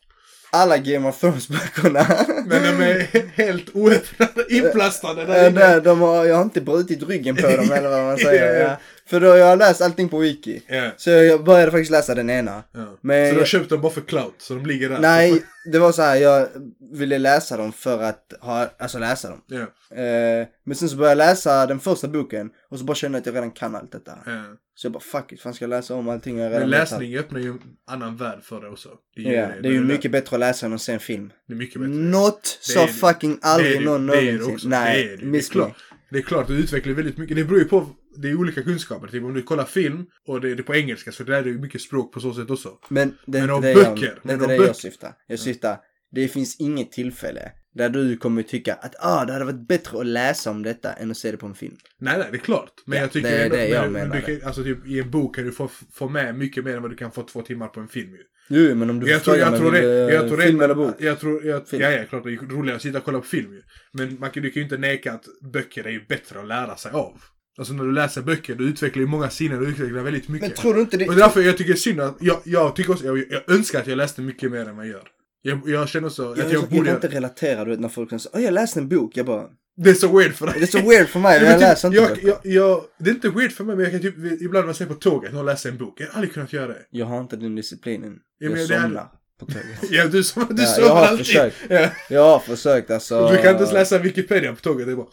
[SPEAKER 2] alla Game of Thrones böckerna.
[SPEAKER 3] Men de är helt
[SPEAKER 2] <laughs>
[SPEAKER 3] oöppnade, inplastade där
[SPEAKER 2] Äh,
[SPEAKER 3] inne.
[SPEAKER 2] där, de har, jag har inte brutit ryggen på dem eller
[SPEAKER 3] <laughs>
[SPEAKER 2] vad man
[SPEAKER 3] Ja,
[SPEAKER 2] säger.
[SPEAKER 3] ja.
[SPEAKER 2] ja. För då har jag har läst allting på wiki.
[SPEAKER 3] Ja,
[SPEAKER 2] Så jag började faktiskt läsa den ena.
[SPEAKER 3] ja.
[SPEAKER 2] Men-
[SPEAKER 3] så du har köpt dem bara för clout, så de ligger där.
[SPEAKER 2] Nej, det var så här, jag ville läsa dem för att ha, alltså läsa dem.
[SPEAKER 3] Ja,
[SPEAKER 2] Eh, men sen så började jag läsa den första boken och så bara kände jag att jag redan kan allt detta.
[SPEAKER 3] ja.
[SPEAKER 2] Så jag bara fuck it, fan ska jag läsa om allting jag redan
[SPEAKER 3] Men
[SPEAKER 2] vet
[SPEAKER 3] läsning öppnar ju en annan värld för dig också. Det
[SPEAKER 2] här? Ja, det är ju mycket bättre att läsa än att se en film.
[SPEAKER 3] Det är mycket bättre.
[SPEAKER 2] Något
[SPEAKER 3] Det
[SPEAKER 2] sa
[SPEAKER 3] är det.
[SPEAKER 2] fucking
[SPEAKER 3] det är
[SPEAKER 2] aldrig
[SPEAKER 3] det-
[SPEAKER 2] någon
[SPEAKER 3] det är det också.
[SPEAKER 2] någonsin.
[SPEAKER 3] det är
[SPEAKER 2] Nej,
[SPEAKER 3] det. Det är
[SPEAKER 2] miss me.
[SPEAKER 3] klart. Det är klart, du utvecklar väldigt mycket. Det beror ju på, det är olika kunskaper. Typ om du kollar film, och det, det är på engelska, så det är ju mycket språk på så sätt också.
[SPEAKER 2] Men det är
[SPEAKER 3] Men om
[SPEAKER 2] inte det jag,
[SPEAKER 3] böcker,
[SPEAKER 2] det, är
[SPEAKER 3] men
[SPEAKER 2] inte
[SPEAKER 3] om
[SPEAKER 2] det
[SPEAKER 3] böcker.
[SPEAKER 2] jag syftar. Jag syftar, det finns inget tillfälle där du kommer tycka att ah, det hade varit bättre att läsa om detta än att se det på en film.
[SPEAKER 3] Nej, nej, det är klart. Men
[SPEAKER 2] Ja,
[SPEAKER 3] jag tycker
[SPEAKER 2] det är
[SPEAKER 3] ändå,
[SPEAKER 2] det jag
[SPEAKER 3] men,
[SPEAKER 2] menar.
[SPEAKER 3] men du kan, alltså typ i en bok kan du få, få med mycket mer än vad du kan få två timmar på en film ju.
[SPEAKER 2] Jo, men om du
[SPEAKER 3] jag tror,
[SPEAKER 2] frågar
[SPEAKER 3] jag
[SPEAKER 2] mig,
[SPEAKER 3] tror
[SPEAKER 2] vill
[SPEAKER 3] det.
[SPEAKER 2] du, eh,
[SPEAKER 3] Jag tror
[SPEAKER 2] film
[SPEAKER 3] det.
[SPEAKER 2] eller bok.
[SPEAKER 3] Jag tror, jag,
[SPEAKER 2] Film.
[SPEAKER 3] Ja, ja, klart det är roligare att sitta och kolla på film ju. Men man kan, du kan ju inte neka att böcker är ju bättre att lära sig av. Alltså när du läser böcker, du utvecklar ju många sinnen, du utvecklar väldigt mycket.
[SPEAKER 2] Men tror du inte det?
[SPEAKER 3] Och därför jag tycker synd att, jag, jag tycker också, jag, jag önskar att jag läste mycket mer än vad jag gör. Jag, jag känner så,
[SPEAKER 2] Jag,
[SPEAKER 3] att
[SPEAKER 2] jag,
[SPEAKER 3] jag
[SPEAKER 2] jag kan inte
[SPEAKER 3] borde,
[SPEAKER 2] relatera du vet, när folk säger åh jag läste en bok. Jag bara,
[SPEAKER 3] det är så weird för dig.
[SPEAKER 2] det är så weird för mig,
[SPEAKER 3] Ja, men
[SPEAKER 2] jag
[SPEAKER 3] typ,
[SPEAKER 2] läser inte
[SPEAKER 3] jag,
[SPEAKER 2] böcker.
[SPEAKER 3] jag, jag, Det är inte weird för mig, men jag kan typ, ibland när man ser på tåget, någon läser en bok. Jag har aldrig kunnat göra det.
[SPEAKER 2] Jag har inte den disciplinen.
[SPEAKER 3] Ja, men
[SPEAKER 2] jag
[SPEAKER 3] det är-
[SPEAKER 2] somnar på tåget.
[SPEAKER 3] Ja, du som, du
[SPEAKER 2] Ja,
[SPEAKER 3] sover
[SPEAKER 2] jag har
[SPEAKER 3] alltid.
[SPEAKER 2] försökt.
[SPEAKER 3] Ja.
[SPEAKER 2] <laughs> Jag har försökt alltså.
[SPEAKER 3] Du kan inte ens läsa Wikipedia på tåget, det är bara...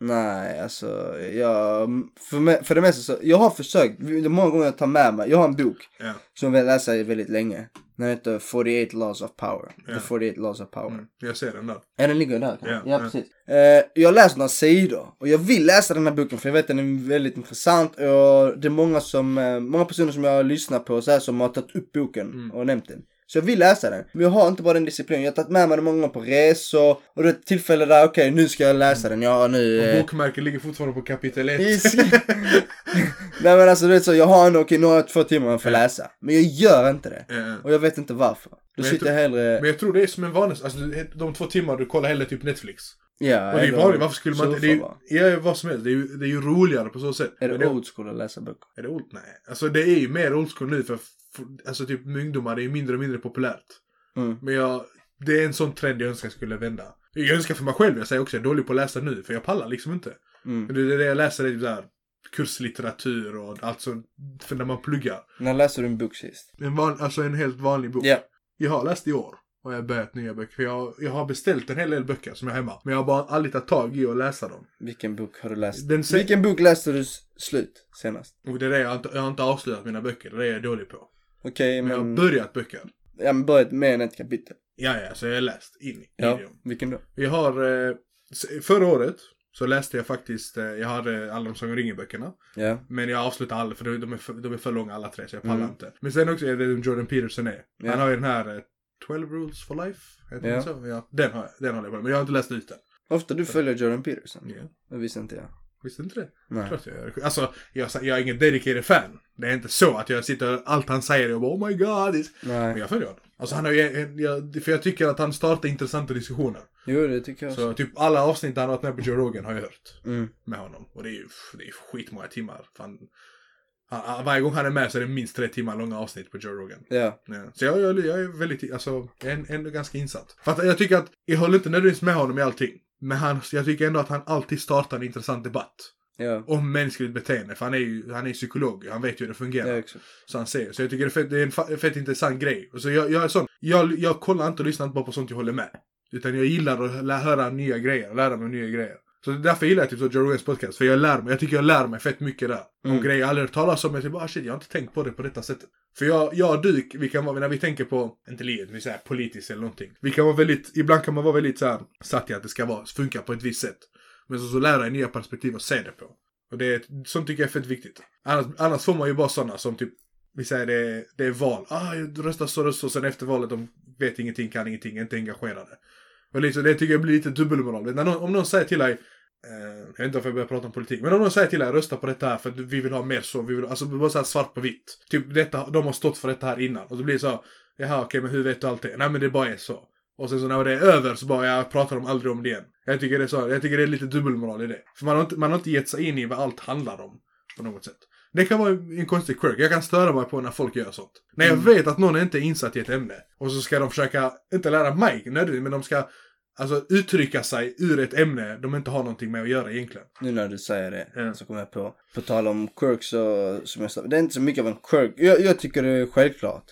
[SPEAKER 2] Nej, alltså jag, för, me, för det mesta så, jag har försökt, det är många gånger jag tar med mig, jag har en bok
[SPEAKER 3] Ja.
[SPEAKER 2] som jag vill läsa i väldigt länge. Den heter 48 Laws of Power.
[SPEAKER 3] Ja.
[SPEAKER 2] The 48 Laws of Power.
[SPEAKER 3] Mm, jag ser den där.
[SPEAKER 2] Ja, den ligger där kanske.
[SPEAKER 3] Ja,
[SPEAKER 2] Ja,
[SPEAKER 3] ja.
[SPEAKER 2] precis. Eh, jag läser några sidor och jag vill läsa den här boken för jag vet att den är väldigt intressant och det är många som, eh, många personer som jag lyssnar på så här, som har tagit upp boken
[SPEAKER 3] Mm.
[SPEAKER 2] och nämnt den. Så jag vill läsa den. Men jag har inte bara den disciplinen. Jag har tagit med mig den många gånger på resor och det är ett tillfälle där, okej nu ska jag läsa den. Jag har nu...
[SPEAKER 3] Och
[SPEAKER 2] eh,
[SPEAKER 3] Bokmärket ligger fortfarande på kapitel 1. <laughs>
[SPEAKER 2] Is- Nej men alltså du vet så, jag har ändå okej nu har jag två timmar för att
[SPEAKER 3] Ja.
[SPEAKER 2] läsa. Men jag gör inte det.
[SPEAKER 3] Men
[SPEAKER 2] Och jag vet inte varför. Då
[SPEAKER 3] Men jag
[SPEAKER 2] sitter
[SPEAKER 3] tror-
[SPEAKER 2] jag hellre...
[SPEAKER 3] jag tror det är som en vana, alltså de två timmar du kollar hellre typ Netflix.
[SPEAKER 2] ja,
[SPEAKER 3] Och det är
[SPEAKER 2] eller-
[SPEAKER 3] vanligt, varför skulle man inte... Det är,
[SPEAKER 2] surfar, va?
[SPEAKER 3] ju- ja, vad som helst, det är, ju, det är ju roligare på så sätt.
[SPEAKER 2] Är det,
[SPEAKER 3] Men
[SPEAKER 2] old school att läsa böcker?
[SPEAKER 3] Är det old? Nej. Alltså det är ju mer old school nu för, för alltså typ med ungdomar det är ju mindre och mindre populärt.
[SPEAKER 2] Mm.
[SPEAKER 3] Men jag, det är en sån trend jag önskar skulle vända. Jag önskar för mig själv, jag säger också jag är dålig på att läsa nu för jag pallar liksom inte.
[SPEAKER 2] Mm.
[SPEAKER 3] Men det, det jag läser är typ där kurslitteratur och allt sånt för när man pluggar.
[SPEAKER 2] När läser du en bok sist?
[SPEAKER 3] En van, alltså en helt vanlig bok.
[SPEAKER 2] Ja.
[SPEAKER 3] Jag har läst i år. Och jag har börjat nya böcker. För jag, jag har beställt en hel del böcker som jag har hemma. Men jag har bara aldrig tagit tag i och läsa dem.
[SPEAKER 2] Vilken bok har du läst?
[SPEAKER 3] Den se-
[SPEAKER 2] Vilken bok läste du s- slut senast?
[SPEAKER 3] Och det är det jag inte, jag har inte avslutat mina böcker. Det är det jag är dålig på.
[SPEAKER 2] Okej,
[SPEAKER 3] Men jag har
[SPEAKER 2] men...
[SPEAKER 3] börjat böcker.
[SPEAKER 2] Ja, men börjat med än ett kapitel.
[SPEAKER 3] Ja, ja, så jag har läst in i
[SPEAKER 2] Ja,
[SPEAKER 3] dem.
[SPEAKER 2] vilken då?
[SPEAKER 3] Vi har, eh, s- förra året så läste jag faktiskt, eh, jag hade alla de som ringer böckerna.
[SPEAKER 2] Ja,
[SPEAKER 3] Men jag avslutade alla för de är för, de är för långa alla tre så jag pallar
[SPEAKER 2] Mm.
[SPEAKER 3] inte. Men sen också är det vem Jordan Peterson är.
[SPEAKER 2] Ja.
[SPEAKER 3] Han har ju den här eh, 12 rules for life. Heter
[SPEAKER 2] Ja.
[SPEAKER 3] den så? Ja, den har, jag- den har jag på. Men jag har inte läst ut den.
[SPEAKER 2] ofta du följer Jordan Peterson.
[SPEAKER 3] Ja.
[SPEAKER 2] Det visste inte jag.
[SPEAKER 3] Visste inte det?
[SPEAKER 2] Nej.
[SPEAKER 3] Klart jag gör. Alltså, jag, jag är ingen dedicated fan. Det är inte så att jag sitter och allt han säger och bara oh my god. This... Men
[SPEAKER 2] Nej.
[SPEAKER 3] jag följer honom. Alltså han har ju, en- jag, för jag tycker att han startar intressanta diskussioner.
[SPEAKER 2] Jo, det tycker jag också.
[SPEAKER 3] Så typ alla avsnitt han har varit med på Joe Rogan har jag hört.
[SPEAKER 2] Mm.
[SPEAKER 3] med honom. Och det är ju pff, det är skitmånga timmar. Fan. Han, han, varje gång han är med så är det minst tre timmar långa avsnitt på Joe Rogan.
[SPEAKER 2] Ja.
[SPEAKER 3] Ja. Så jag, jag, jag är väldigt, alltså, jag är en- ändå ganska insatt. För att jag tycker att, jag håller inte nödvändigtvis med honom i allting. Men han, jag tycker ändå att han alltid startar en intressant debatt.
[SPEAKER 2] Ja.
[SPEAKER 3] Om mänskligt beteende. För han är ju, han är ju psykolog. Han vet ju hur det fungerar.
[SPEAKER 2] Ja, också.
[SPEAKER 3] Så han säger. Så jag tycker det är, fett, det är en fa- fett intressant grej. Och så jag, jag är sån. Jag, jag kollar inte och lyssnar inte bara på sånt jag håller med. Utan jag gillar att lä- höra nya grejer och lära mig nya grejer. Så det är därför jag gillar typ så Joe Rogans podcast. För jag lär mig. Jag tycker jag lär mig fett mycket där. Om
[SPEAKER 2] Mm.
[SPEAKER 3] grejer jag aldrig hört talas om. Jag typ bara ah, shit, jag har inte tänkt på det på detta sättet. För jag, jag och Dyk, vi kan vara, när vi tänker på, inte livet, men såhär politiskt eller någonting. Vi kan vara väldigt, ibland kan man vara väldigt såhär satt i att det ska vara, funka på ett visst sätt. Men så, så lär jag nya perspektiv att se det på. Och det är, sånt tycker jag är fett viktigt. Annars, annars får man ju bara sådana som typ, vi säger det, det är val. Ah, jag röstar så, röstar så, sen efter valet de vet ingenting, kan ingenting, är inte engagerade. Och liksom, det tycker jag blir lite dubbelmoral. När någon, om någon säger till dig, eh, jag vet inte varför jag börjar prata om politik, men om någon säger till dig rösta på detta här för att vi vill ha mer så, vi vill, alltså bara så här svart på vitt. Typ detta, de har stått för detta här innan. Och då blir det så, här, jaha okej men hur vet du allt det? Nej men det bara är så. Och sen så när det är över så bara, jag pratar de aldrig om det igen. Jag tycker det är så, jag tycker det är lite dubbelmoral i det. För man har inte, man har inte gett sig in i vad allt handlar om. På något sätt. Det kan vara en konstig quirk. Jag kan störa mig på när folk gör sånt. När
[SPEAKER 2] Mm.
[SPEAKER 3] jag vet att någon inte är insatt i ett ämne. Och så ska de försöka, inte lära mig nödvändigtvis, men de ska alltså, uttrycka sig ur ett ämne de inte har någonting med att göra egentligen.
[SPEAKER 2] Nu när du säger det
[SPEAKER 3] Ja.
[SPEAKER 2] så kommer jag på, på tal om quirks och som jag sa, det är inte så mycket av en quirk. Jag, jag tycker det är självklart.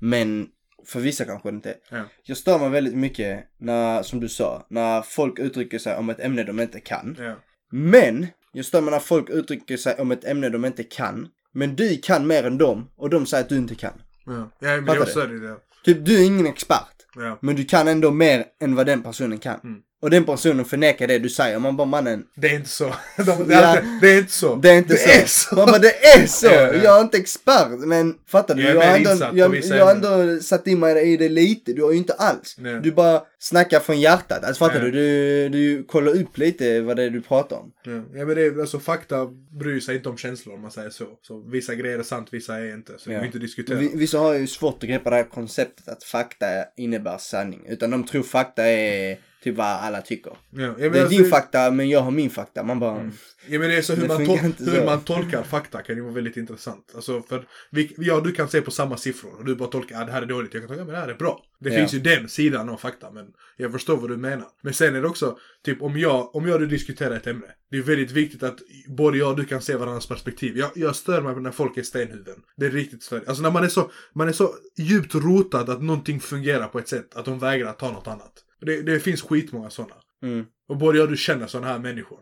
[SPEAKER 2] Men för vissa kanske det inte är.
[SPEAKER 3] Ja.
[SPEAKER 2] Jag stör mig väldigt mycket när, som du sa, när folk uttrycker sig om ett ämne de inte kan.
[SPEAKER 3] Ja.
[SPEAKER 2] Men! Jag stör mig när folk uttrycker sig om ett ämne de inte kan. Men du kan mer än dem och de säger att du inte kan.
[SPEAKER 3] Ja, ja men
[SPEAKER 2] Fattar Mm.
[SPEAKER 3] jag
[SPEAKER 2] du?
[SPEAKER 3] stör i det.
[SPEAKER 2] Typ du är ingen expert.
[SPEAKER 3] Ja.
[SPEAKER 2] Men du kan ändå mer än vad den personen kan.
[SPEAKER 3] Mm.
[SPEAKER 2] Och den personen förnekar det du säger. Man bara mannen,
[SPEAKER 3] Det är inte så. <laughs> De, det, är
[SPEAKER 2] Ja.
[SPEAKER 3] alltid, det är inte så.
[SPEAKER 2] det är inte så.
[SPEAKER 3] Är så.
[SPEAKER 2] Man bara det är så!
[SPEAKER 3] Ja, ja.
[SPEAKER 2] Jag är inte expert. Men fattar du?
[SPEAKER 3] Jag är
[SPEAKER 2] har
[SPEAKER 3] mer
[SPEAKER 2] ändå,
[SPEAKER 3] insatt på
[SPEAKER 2] jag,
[SPEAKER 3] vissa
[SPEAKER 2] jag har
[SPEAKER 3] ämnen.
[SPEAKER 2] ändå satt in mig i det lite. Du har ju inte alls.
[SPEAKER 3] Nej.
[SPEAKER 2] Du bara snackar från hjärtat. Alltså fattar
[SPEAKER 3] Ja.
[SPEAKER 2] du? du? Du kollar upp lite vad det är du pratar om.
[SPEAKER 3] Ja, ja, men det är, alltså fakta bryr sig inte om känslor om man säger så. Så vissa grejer är sant, vissa är inte. Så det
[SPEAKER 2] Ja.
[SPEAKER 3] går inte att diskutera.
[SPEAKER 2] Vi- Vissa har ju svårt att greppa det här konceptet att fakta innebär sanning. Utan de tror fakta är typ vad alla tycker.
[SPEAKER 3] Ja, ja, men
[SPEAKER 2] Det är
[SPEAKER 3] alltså-
[SPEAKER 2] din fakta men jag har min fakta. Man bara...
[SPEAKER 3] Mm. Ja men det är så hur,
[SPEAKER 2] Det
[SPEAKER 3] man,
[SPEAKER 2] funkar
[SPEAKER 3] tol-
[SPEAKER 2] inte
[SPEAKER 3] hur
[SPEAKER 2] så.
[SPEAKER 3] man tolkar fakta kan ju vara väldigt intressant. Alltså för vi, jag och du kan se på samma siffror och du bara tolkar ah, det här är dåligt, jag kan tolka men det här är bra. Det
[SPEAKER 2] Ja.
[SPEAKER 3] finns ju den sidan av fakta men jag förstår vad du menar. Men sen är det också, typ om jag, om jag och du diskuterar ett ämne. Det är väldigt viktigt att både jag och du kan se varandras perspektiv. Jag, jag stör mig på när folk är stenhuvuden. Det är riktigt störigt. Alltså när man är så, man är så djupt rotad att någonting fungerar på ett sätt att de vägrar ta något annat. Det, det finns skitmånga sådana.
[SPEAKER 2] Mm.
[SPEAKER 3] Och både jag och du känner sådana här människor.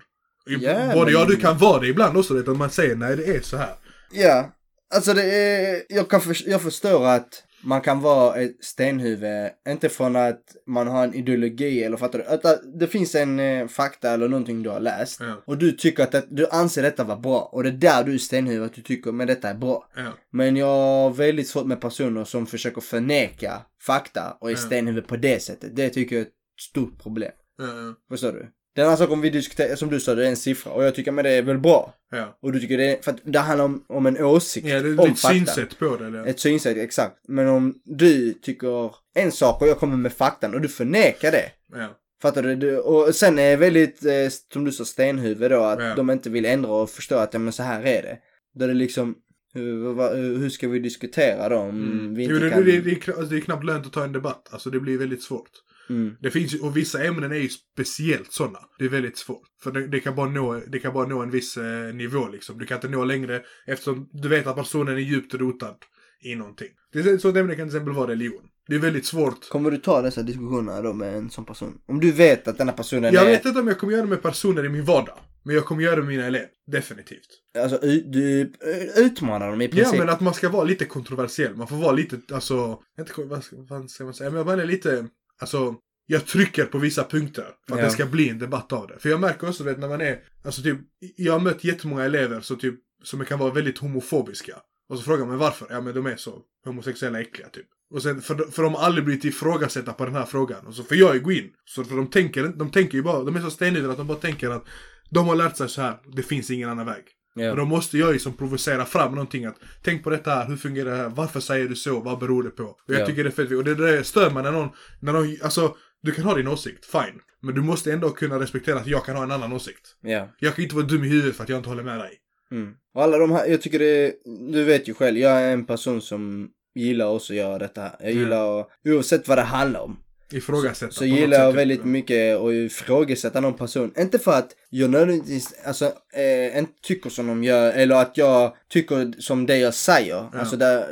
[SPEAKER 2] Ja,
[SPEAKER 3] både
[SPEAKER 2] men-
[SPEAKER 3] jag och du kan vara det ibland också, utan man säger nej det är så här.
[SPEAKER 2] Ja, alltså det är, jag, kan för, jag förstår att man kan vara ett stenhuvud, inte från att man har en ideologi eller fattar du? Att det finns en eh, fakta eller någonting du har läst
[SPEAKER 3] Ja.
[SPEAKER 2] och du tycker att det, du anser detta vara bra och det är där du är stenhuvud, att du tycker men detta är bra.
[SPEAKER 3] Ja,
[SPEAKER 2] Men jag har väldigt svårt med personer som försöker förneka fakta och är
[SPEAKER 3] Ja.
[SPEAKER 2] stenhuvud på det sättet. Det tycker jag är ett stort problem.
[SPEAKER 3] ja,
[SPEAKER 2] Förstår du? Den här saken vi diskuterar, som du sa, det är en siffra och jag tycker men det är väl bra.
[SPEAKER 3] ja.
[SPEAKER 2] Och du tycker det är, för att det handlar om, om en åsikt.
[SPEAKER 3] ja det
[SPEAKER 2] om
[SPEAKER 3] är ditt
[SPEAKER 2] fakta.
[SPEAKER 3] synsätt på det. Eller?
[SPEAKER 2] Ett synsätt, exakt. Men om du tycker en sak och jag kommer med faktan och du förnekar det.
[SPEAKER 3] Ja.
[SPEAKER 2] Fattar du? du? Och sen är väldigt, eh, som du sa, stenhuvud då, att
[SPEAKER 3] Ja.
[SPEAKER 2] de inte vill ändra och förstå att ja, men så här är det. Då är det liksom, hur, vad- hur ska vi diskutera då om Mm, vi inte
[SPEAKER 3] Mm. Jo, det,
[SPEAKER 2] kan...
[SPEAKER 3] det, det, är, kna- alltså, det är knappt lönt att ta en debatt, alltså det blir väldigt svårt.
[SPEAKER 2] Mm.
[SPEAKER 3] Det finns ju, och vissa ämnen är ju speciellt sådana. Det är väldigt svårt. För det, det, kan, bara nå, det kan bara nå en viss eh, nivå liksom. Du kan inte nå längre eftersom du vet att personen är djupt rotad i någonting. Det är så ett ämne kan till exempel vara religion. Det är väldigt svårt.
[SPEAKER 2] Kommer du ta dessa diskussionerna då med en sån person? Om du vet att den här personen
[SPEAKER 3] Jag
[SPEAKER 2] är...
[SPEAKER 3] vet inte om jag kommer göra det med personer i min vardag. Men jag kommer göra det med mina elever. Definitivt.
[SPEAKER 2] Alltså, ut- du eh, utmanar dem i
[SPEAKER 3] Ja
[SPEAKER 2] princip.
[SPEAKER 3] men att man ska vara lite kontroversiell. Man får vara lite, alltså, inte, kon- vad, ska, vad ska man säga? Men jag menar lite, alltså, jag trycker på vissa punkter för att
[SPEAKER 2] Ja.
[SPEAKER 3] det ska bli en debatt av det. För jag märker också, du vet, när man är, alltså typ, jag har mött jättemånga elever så typ, som kan vara väldigt homofobiska. Och så frågar man varför? Ja men de är så homosexuella äckliga typ. Och sen, för, de- för de har aldrig blivit ifrågasatta på den här frågan. Och så får jag ju gå in. Så för de tänker, inte- de tänker ju bara, de är så stenhårda att de bara tänker att de har lärt sig så här, det finns ingen annan väg.
[SPEAKER 2] Ja.
[SPEAKER 3] Men då måste jag ju som provocera fram någonting att tänk på detta här, hur fungerar det här, varför säger du så, vad beror det på? Och jag
[SPEAKER 2] Ja.
[SPEAKER 3] tycker det är fett och det där stör man när någon, när någon, alltså du kan ha din åsikt, fine. Men du måste ändå kunna respektera att jag kan ha en annan åsikt.
[SPEAKER 2] ja.
[SPEAKER 3] Jag kan inte vara dum i huvudet för att jag inte håller med dig.
[SPEAKER 2] Mm. Och alla de här, jag tycker det, du vet ju själv, jag är en person som gillar också att göra detta här. Jag
[SPEAKER 3] Mm.
[SPEAKER 2] gillar att, oavsett vad det handlar om,
[SPEAKER 3] Ifrågasätta.
[SPEAKER 2] så
[SPEAKER 3] på något
[SPEAKER 2] gillar jag
[SPEAKER 3] sätt,
[SPEAKER 2] väldigt
[SPEAKER 3] typ.
[SPEAKER 2] mycket att ifrågasätta någon person. Inte för att jag nödvändigtvis, alltså, eh, inte tycker som de gör, eller att jag tycker som det jag säger. Alltså där,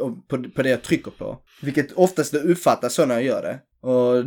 [SPEAKER 2] och på, på det jag trycker på. Vilket oftast det uppfattas så när jag gör det. Och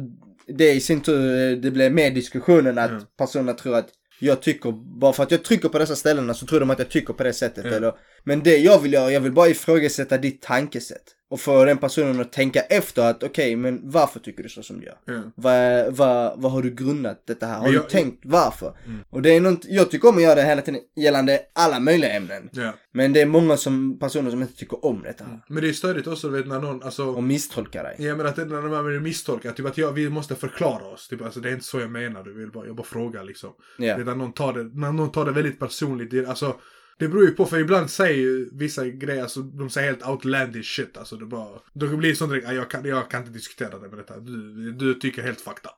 [SPEAKER 2] det i sin tur, eh, det blir mer diskussionen att
[SPEAKER 3] Mm.
[SPEAKER 2] personerna tror att jag tycker, bara för att jag trycker på dessa ställena så tror de att jag tycker på det sättet.
[SPEAKER 3] Mm.
[SPEAKER 2] Eller, men det jag vill göra, jag vill bara ifrågasätta ditt tankesätt. Och få den personen att tänka efter att okej, men varför tycker du så som du gör?
[SPEAKER 3] Ja.
[SPEAKER 2] Vad, vad, vad har du grundat detta här? Har
[SPEAKER 3] Men
[SPEAKER 2] du
[SPEAKER 3] jag-
[SPEAKER 2] tänkt varför?
[SPEAKER 3] Mm.
[SPEAKER 2] Och det är något, jag tycker om att göra det hela tiden gällande alla möjliga ämnen.
[SPEAKER 3] Ja.
[SPEAKER 2] Men det är många som, personer som inte tycker om detta här.
[SPEAKER 3] Men det är störigt också, du vet, när någon, alltså.
[SPEAKER 2] Och misstolkar dig.
[SPEAKER 3] Mm. Ja men att det- när de här misstolkar, typ att jag, vi måste förklara oss. Typ, alltså det är inte så jag menar, du vill bara, jag bara frågar liksom.
[SPEAKER 2] Ja.
[SPEAKER 3] Utan någon tar det, när någon tar det väldigt personligt. Det, alltså, det beror ju på, för ibland säger ju vissa grejer, alltså, de säger helt outlandish shit. Alltså, det bara, då blir det sånt direkt, "Ah, jag kan, jag kan inte diskutera det med detta. Du, du tycker helt fucked up.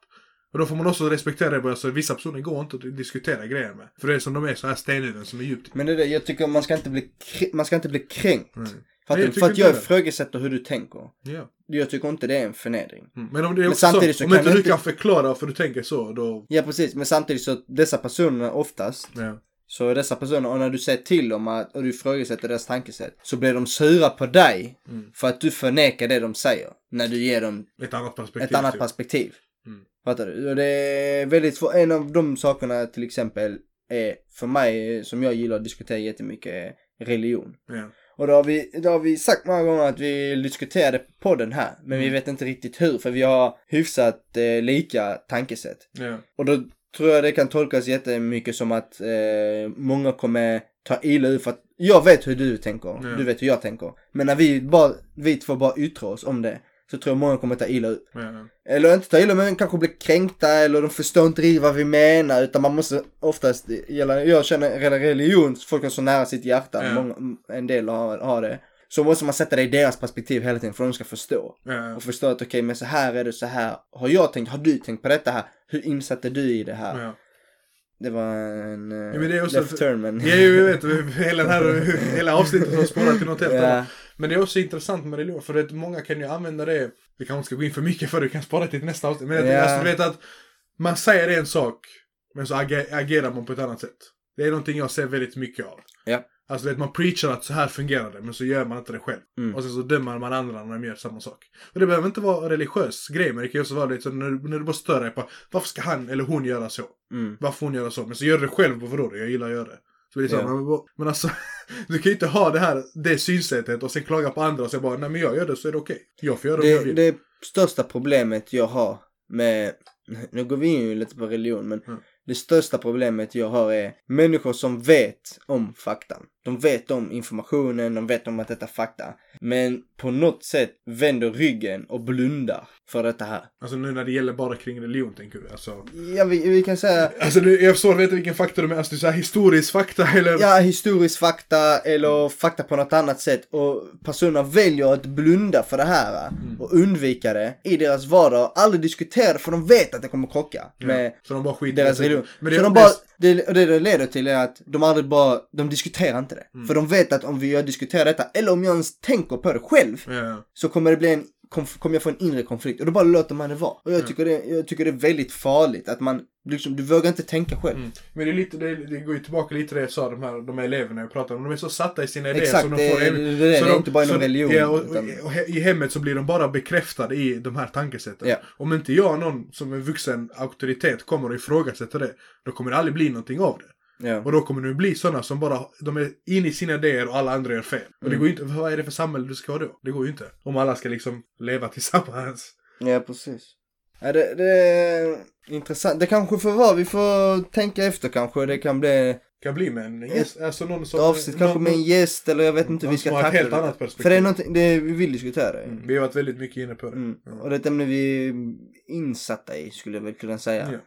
[SPEAKER 3] Och då får man också respektera det, bara, alltså, vissa personer går inte att diskutera grejer med. För det är som de är, så här stenhuvuden som är djupt.
[SPEAKER 2] Men det är det, jag tycker man ska inte bli, kr- man ska inte bli kränkt.
[SPEAKER 3] Mm.
[SPEAKER 2] För att,
[SPEAKER 3] Nej, jag
[SPEAKER 2] du, för att
[SPEAKER 3] tycker
[SPEAKER 2] jag
[SPEAKER 3] inte det.
[SPEAKER 2] ifrågasätter hur du tänker.
[SPEAKER 3] Ja.
[SPEAKER 2] Jag tycker inte det är en förnedring.
[SPEAKER 3] Mm. Men om det är
[SPEAKER 2] Men
[SPEAKER 3] också
[SPEAKER 2] samtidigt så
[SPEAKER 3] om
[SPEAKER 2] kan
[SPEAKER 3] inte
[SPEAKER 2] jag
[SPEAKER 3] du
[SPEAKER 2] inte-
[SPEAKER 3] kan förklara för du tänker så, då...
[SPEAKER 2] Ja precis, men samtidigt så att dessa personer oftast
[SPEAKER 3] Ja.
[SPEAKER 2] Så är dessa personer, och när du säger till dem att, och du ifrågasätter deras tankesätt, så blir de sura på dig
[SPEAKER 3] Mm.
[SPEAKER 2] för att du förnekar det de säger. När du ger dem
[SPEAKER 3] Ett annat perspektiv.
[SPEAKER 2] ett annat
[SPEAKER 3] typ.
[SPEAKER 2] perspektiv.
[SPEAKER 3] Mm.
[SPEAKER 2] Fattar du? Och det är väldigt svårt. En av de sakerna till exempel är, för mig, som jag gillar att diskutera jättemycket, är religion.
[SPEAKER 3] Ja.
[SPEAKER 2] Och då har, vi, då har vi sagt många gånger att vi diskuterar det på podden här, men vi
[SPEAKER 3] Mm.
[SPEAKER 2] vet inte riktigt hur, för vi har hyfsat eh, lika tankesätt.
[SPEAKER 3] Ja.
[SPEAKER 2] Och då tror jag det kan tolkas jättemycket som att eh, många kommer ta illa ut för att jag vet hur du tänker,
[SPEAKER 3] Ja.
[SPEAKER 2] du vet hur jag tänker. Men när vi, bara, vi två bara yttrar oss om det så tror jag många kommer ta illa ut.
[SPEAKER 3] Ja. ja.
[SPEAKER 2] Eller inte ta illa men kanske bli kränkta eller de förstår inte riktigt vad vi menar utan man måste oftast, gälla- jag känner rela- religion, folk har så nära sitt hjärta,
[SPEAKER 3] Ja.
[SPEAKER 2] många, en del har, har det. Så måste man sätta det i deras perspektiv hela tiden för de ska förstå
[SPEAKER 3] ja.
[SPEAKER 2] och förstå att okej men så här är det så här har jag tänkt, har du tänkt på detta här, hur insatt är du i det här?
[SPEAKER 3] ja.
[SPEAKER 2] Det var en eh,
[SPEAKER 3] Ja, men det är också
[SPEAKER 2] left
[SPEAKER 3] för-
[SPEAKER 2] turn men...
[SPEAKER 3] Ja, jo, jag vet. Hela, den här, hela avsnittet har spårat till något helt
[SPEAKER 2] ja,
[SPEAKER 3] annat. Men det är också intressant med religion, för att många kan ju använda det. Vi kanske inte ska gå in för mycket för det, vi kan spara till nästa avsnitt. Men
[SPEAKER 2] Ja.
[SPEAKER 3] yeah. alltså, du vet att man säger en sak, men så age- agerar man på ett annat sätt. Det är någonting jag ser väldigt mycket av.
[SPEAKER 2] Ja.
[SPEAKER 3] Alltså du vet, man preachar att så här fungerar det, men så gör man inte det själv.
[SPEAKER 2] Mm.
[SPEAKER 3] Och sen så dömer man andra när de gör samma sak. Och det behöver inte vara en religiös grej, men det kan ju också vara lite så när, du- när du bara stör dig på varför ska han eller hon göra så?
[SPEAKER 2] mm.
[SPEAKER 3] Varför hon gör så? Men så gör du det själv, varför då? Jag gillar att göra det. Så blir det så,
[SPEAKER 2] Ja.
[SPEAKER 3] här, men, vad- men alltså, <laughs> du kan ju inte ha det här, det synsättet och sen klaga på andra och säga bara, nej men jag gör det så är det okej. Jag får göra det, jag
[SPEAKER 2] det,
[SPEAKER 3] vill.
[SPEAKER 2] det största problemet jag har med, nu går vi in ju lite på religion men
[SPEAKER 3] Mm.
[SPEAKER 2] det största problemet jag har är människor som vet om faktan. De vet om informationen, de vet om att detta är fakta. Men på något sätt vänder ryggen och blundar för detta här.
[SPEAKER 3] Alltså nu när det gäller bara kring religion tänker du, alltså.
[SPEAKER 2] Ja, vi, vi kan säga
[SPEAKER 3] Alltså nu, jag förstår, vet inte vilken fakta du menar, alltså det är så här historisk fakta <laughs> eller?
[SPEAKER 2] Ja, historisk fakta eller fakta på något annat sätt. Och personer väljer att blunda för det här va?
[SPEAKER 3] Mm.
[SPEAKER 2] och undvika det i deras vardag. Aldrig diskutera det för de vet att det kommer krocka
[SPEAKER 3] Ja.
[SPEAKER 2] med
[SPEAKER 3] så de bara skiter i
[SPEAKER 2] deras
[SPEAKER 3] det.
[SPEAKER 2] religion.
[SPEAKER 3] Men det,
[SPEAKER 2] så de bara, det, och det det leder till är att de aldrig bara, de diskuterar inte det.
[SPEAKER 3] Mm.
[SPEAKER 2] För de vet att om vi jag diskuterar detta, eller om jag ens tänker på det själv,
[SPEAKER 3] Ja,
[SPEAKER 2] så kommer det bli en konf- kommer jag få en inre konflikt. Och då bara låter man det vara. Och jag
[SPEAKER 3] Mm.
[SPEAKER 2] tycker det, jag tycker det är väldigt farligt att man, liksom, du vågar inte tänka själv.
[SPEAKER 3] Mm. Men det, är lite, det, är- det går ju tillbaka lite till det jag sa, de här, de här eleverna jag pratade om. De är så satta i sina idéer.
[SPEAKER 2] Exakt,
[SPEAKER 3] som
[SPEAKER 2] det,
[SPEAKER 3] de får,
[SPEAKER 2] det, det, det,
[SPEAKER 3] så
[SPEAKER 2] är
[SPEAKER 3] de-
[SPEAKER 2] inte bara
[SPEAKER 3] så-
[SPEAKER 2] inom religion.
[SPEAKER 3] Ja, och, och,
[SPEAKER 2] utan,
[SPEAKER 3] och he, I hemmet så blir de bara bekräftade i de här tankesätten.
[SPEAKER 2] Ja.
[SPEAKER 3] Om inte jag, någon som en vuxen auktoritet, kommer och ifrågasätter det, då kommer det aldrig bli någonting av det.
[SPEAKER 2] ja.
[SPEAKER 3] Och då kommer det bli sådana som bara, de är inne i sina idéer och alla andra gör fel. Och det
[SPEAKER 2] Mm.
[SPEAKER 3] går ju inte, vad är det för samhälle du ska ha då? Det går ju inte. Om alla ska liksom leva tillsammans.
[SPEAKER 2] ja, precis. Ja, det, det är intressant. Det kanske får vara, vi får tänka efter kanske. Det kan bli
[SPEAKER 3] Kan bli med en gäst, alltså någon
[SPEAKER 2] ett
[SPEAKER 3] som...
[SPEAKER 2] avsnitt kanske
[SPEAKER 3] någon-
[SPEAKER 2] med en gäst eller jag vet inte hur
[SPEAKER 3] någon
[SPEAKER 2] vi
[SPEAKER 3] som
[SPEAKER 2] ska
[SPEAKER 3] har ett
[SPEAKER 2] tackla
[SPEAKER 3] helt
[SPEAKER 2] det.
[SPEAKER 3] annat perspektiv.
[SPEAKER 2] För det är någonting, det vi vill diskutera. det.
[SPEAKER 3] Mm, Vi har varit väldigt mycket inne på det.
[SPEAKER 2] Mm.
[SPEAKER 3] Ja.
[SPEAKER 2] Och det är ett ämne vi är insatta i skulle jag väl kunna säga.
[SPEAKER 3] Ja.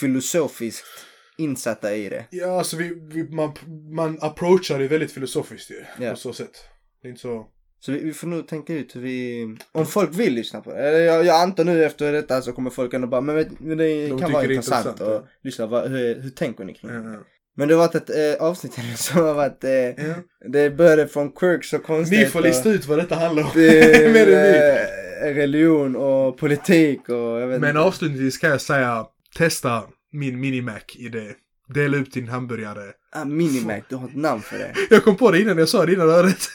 [SPEAKER 2] Filosofiskt insatta i det.
[SPEAKER 3] Ja, alltså vi, vi, man, man approachar det väldigt filosofiskt ju.
[SPEAKER 2] Ja.
[SPEAKER 3] På så sätt. Det är inte så...
[SPEAKER 2] Så vi, vi får nog tänka ut hur vi, om folk vill lyssna på det. Eller Jag, jag antar nu efter detta så kommer folk ändå bara, men, vet- men det
[SPEAKER 3] tycker
[SPEAKER 2] kan vara
[SPEAKER 3] det är
[SPEAKER 2] intressant,
[SPEAKER 3] intressant,
[SPEAKER 2] att lyssna, vad, hur, hur tänker ni kring det?
[SPEAKER 3] Ja.
[SPEAKER 2] Men det har varit ett eh, avsnitt här <laughs> som har varit, eh,
[SPEAKER 3] Ja.
[SPEAKER 2] det började från quirks och konstigheter.
[SPEAKER 3] Ni får lista ut vad detta handlar om. <laughs>
[SPEAKER 2] till,
[SPEAKER 3] Mer än vi.
[SPEAKER 2] eh, religion och politik och jag vet
[SPEAKER 3] Men
[SPEAKER 2] inte.
[SPEAKER 3] avslutningsvis kan jag säga, testa min minimac i det. Dela upp din hamburgare.
[SPEAKER 2] Ah, Minimac, du har ett namn för det.
[SPEAKER 3] Jag kom på det innan jag sa det innan örat. <laughs>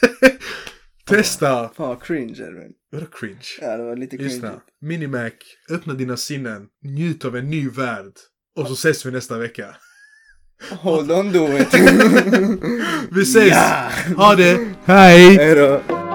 [SPEAKER 3] testa.
[SPEAKER 2] Fan vad cringe Edvin.
[SPEAKER 3] Vadå cringe?
[SPEAKER 2] Ja det var lite cringe.
[SPEAKER 3] Lyssna. Minimac, öppna dina sinnen, njut av en ny värld. Och så ses vi nästa vecka.
[SPEAKER 2] Hold on do it.
[SPEAKER 3] Vi ses!
[SPEAKER 2] Ja.
[SPEAKER 3] Ha det! Hej!
[SPEAKER 2] Hej då.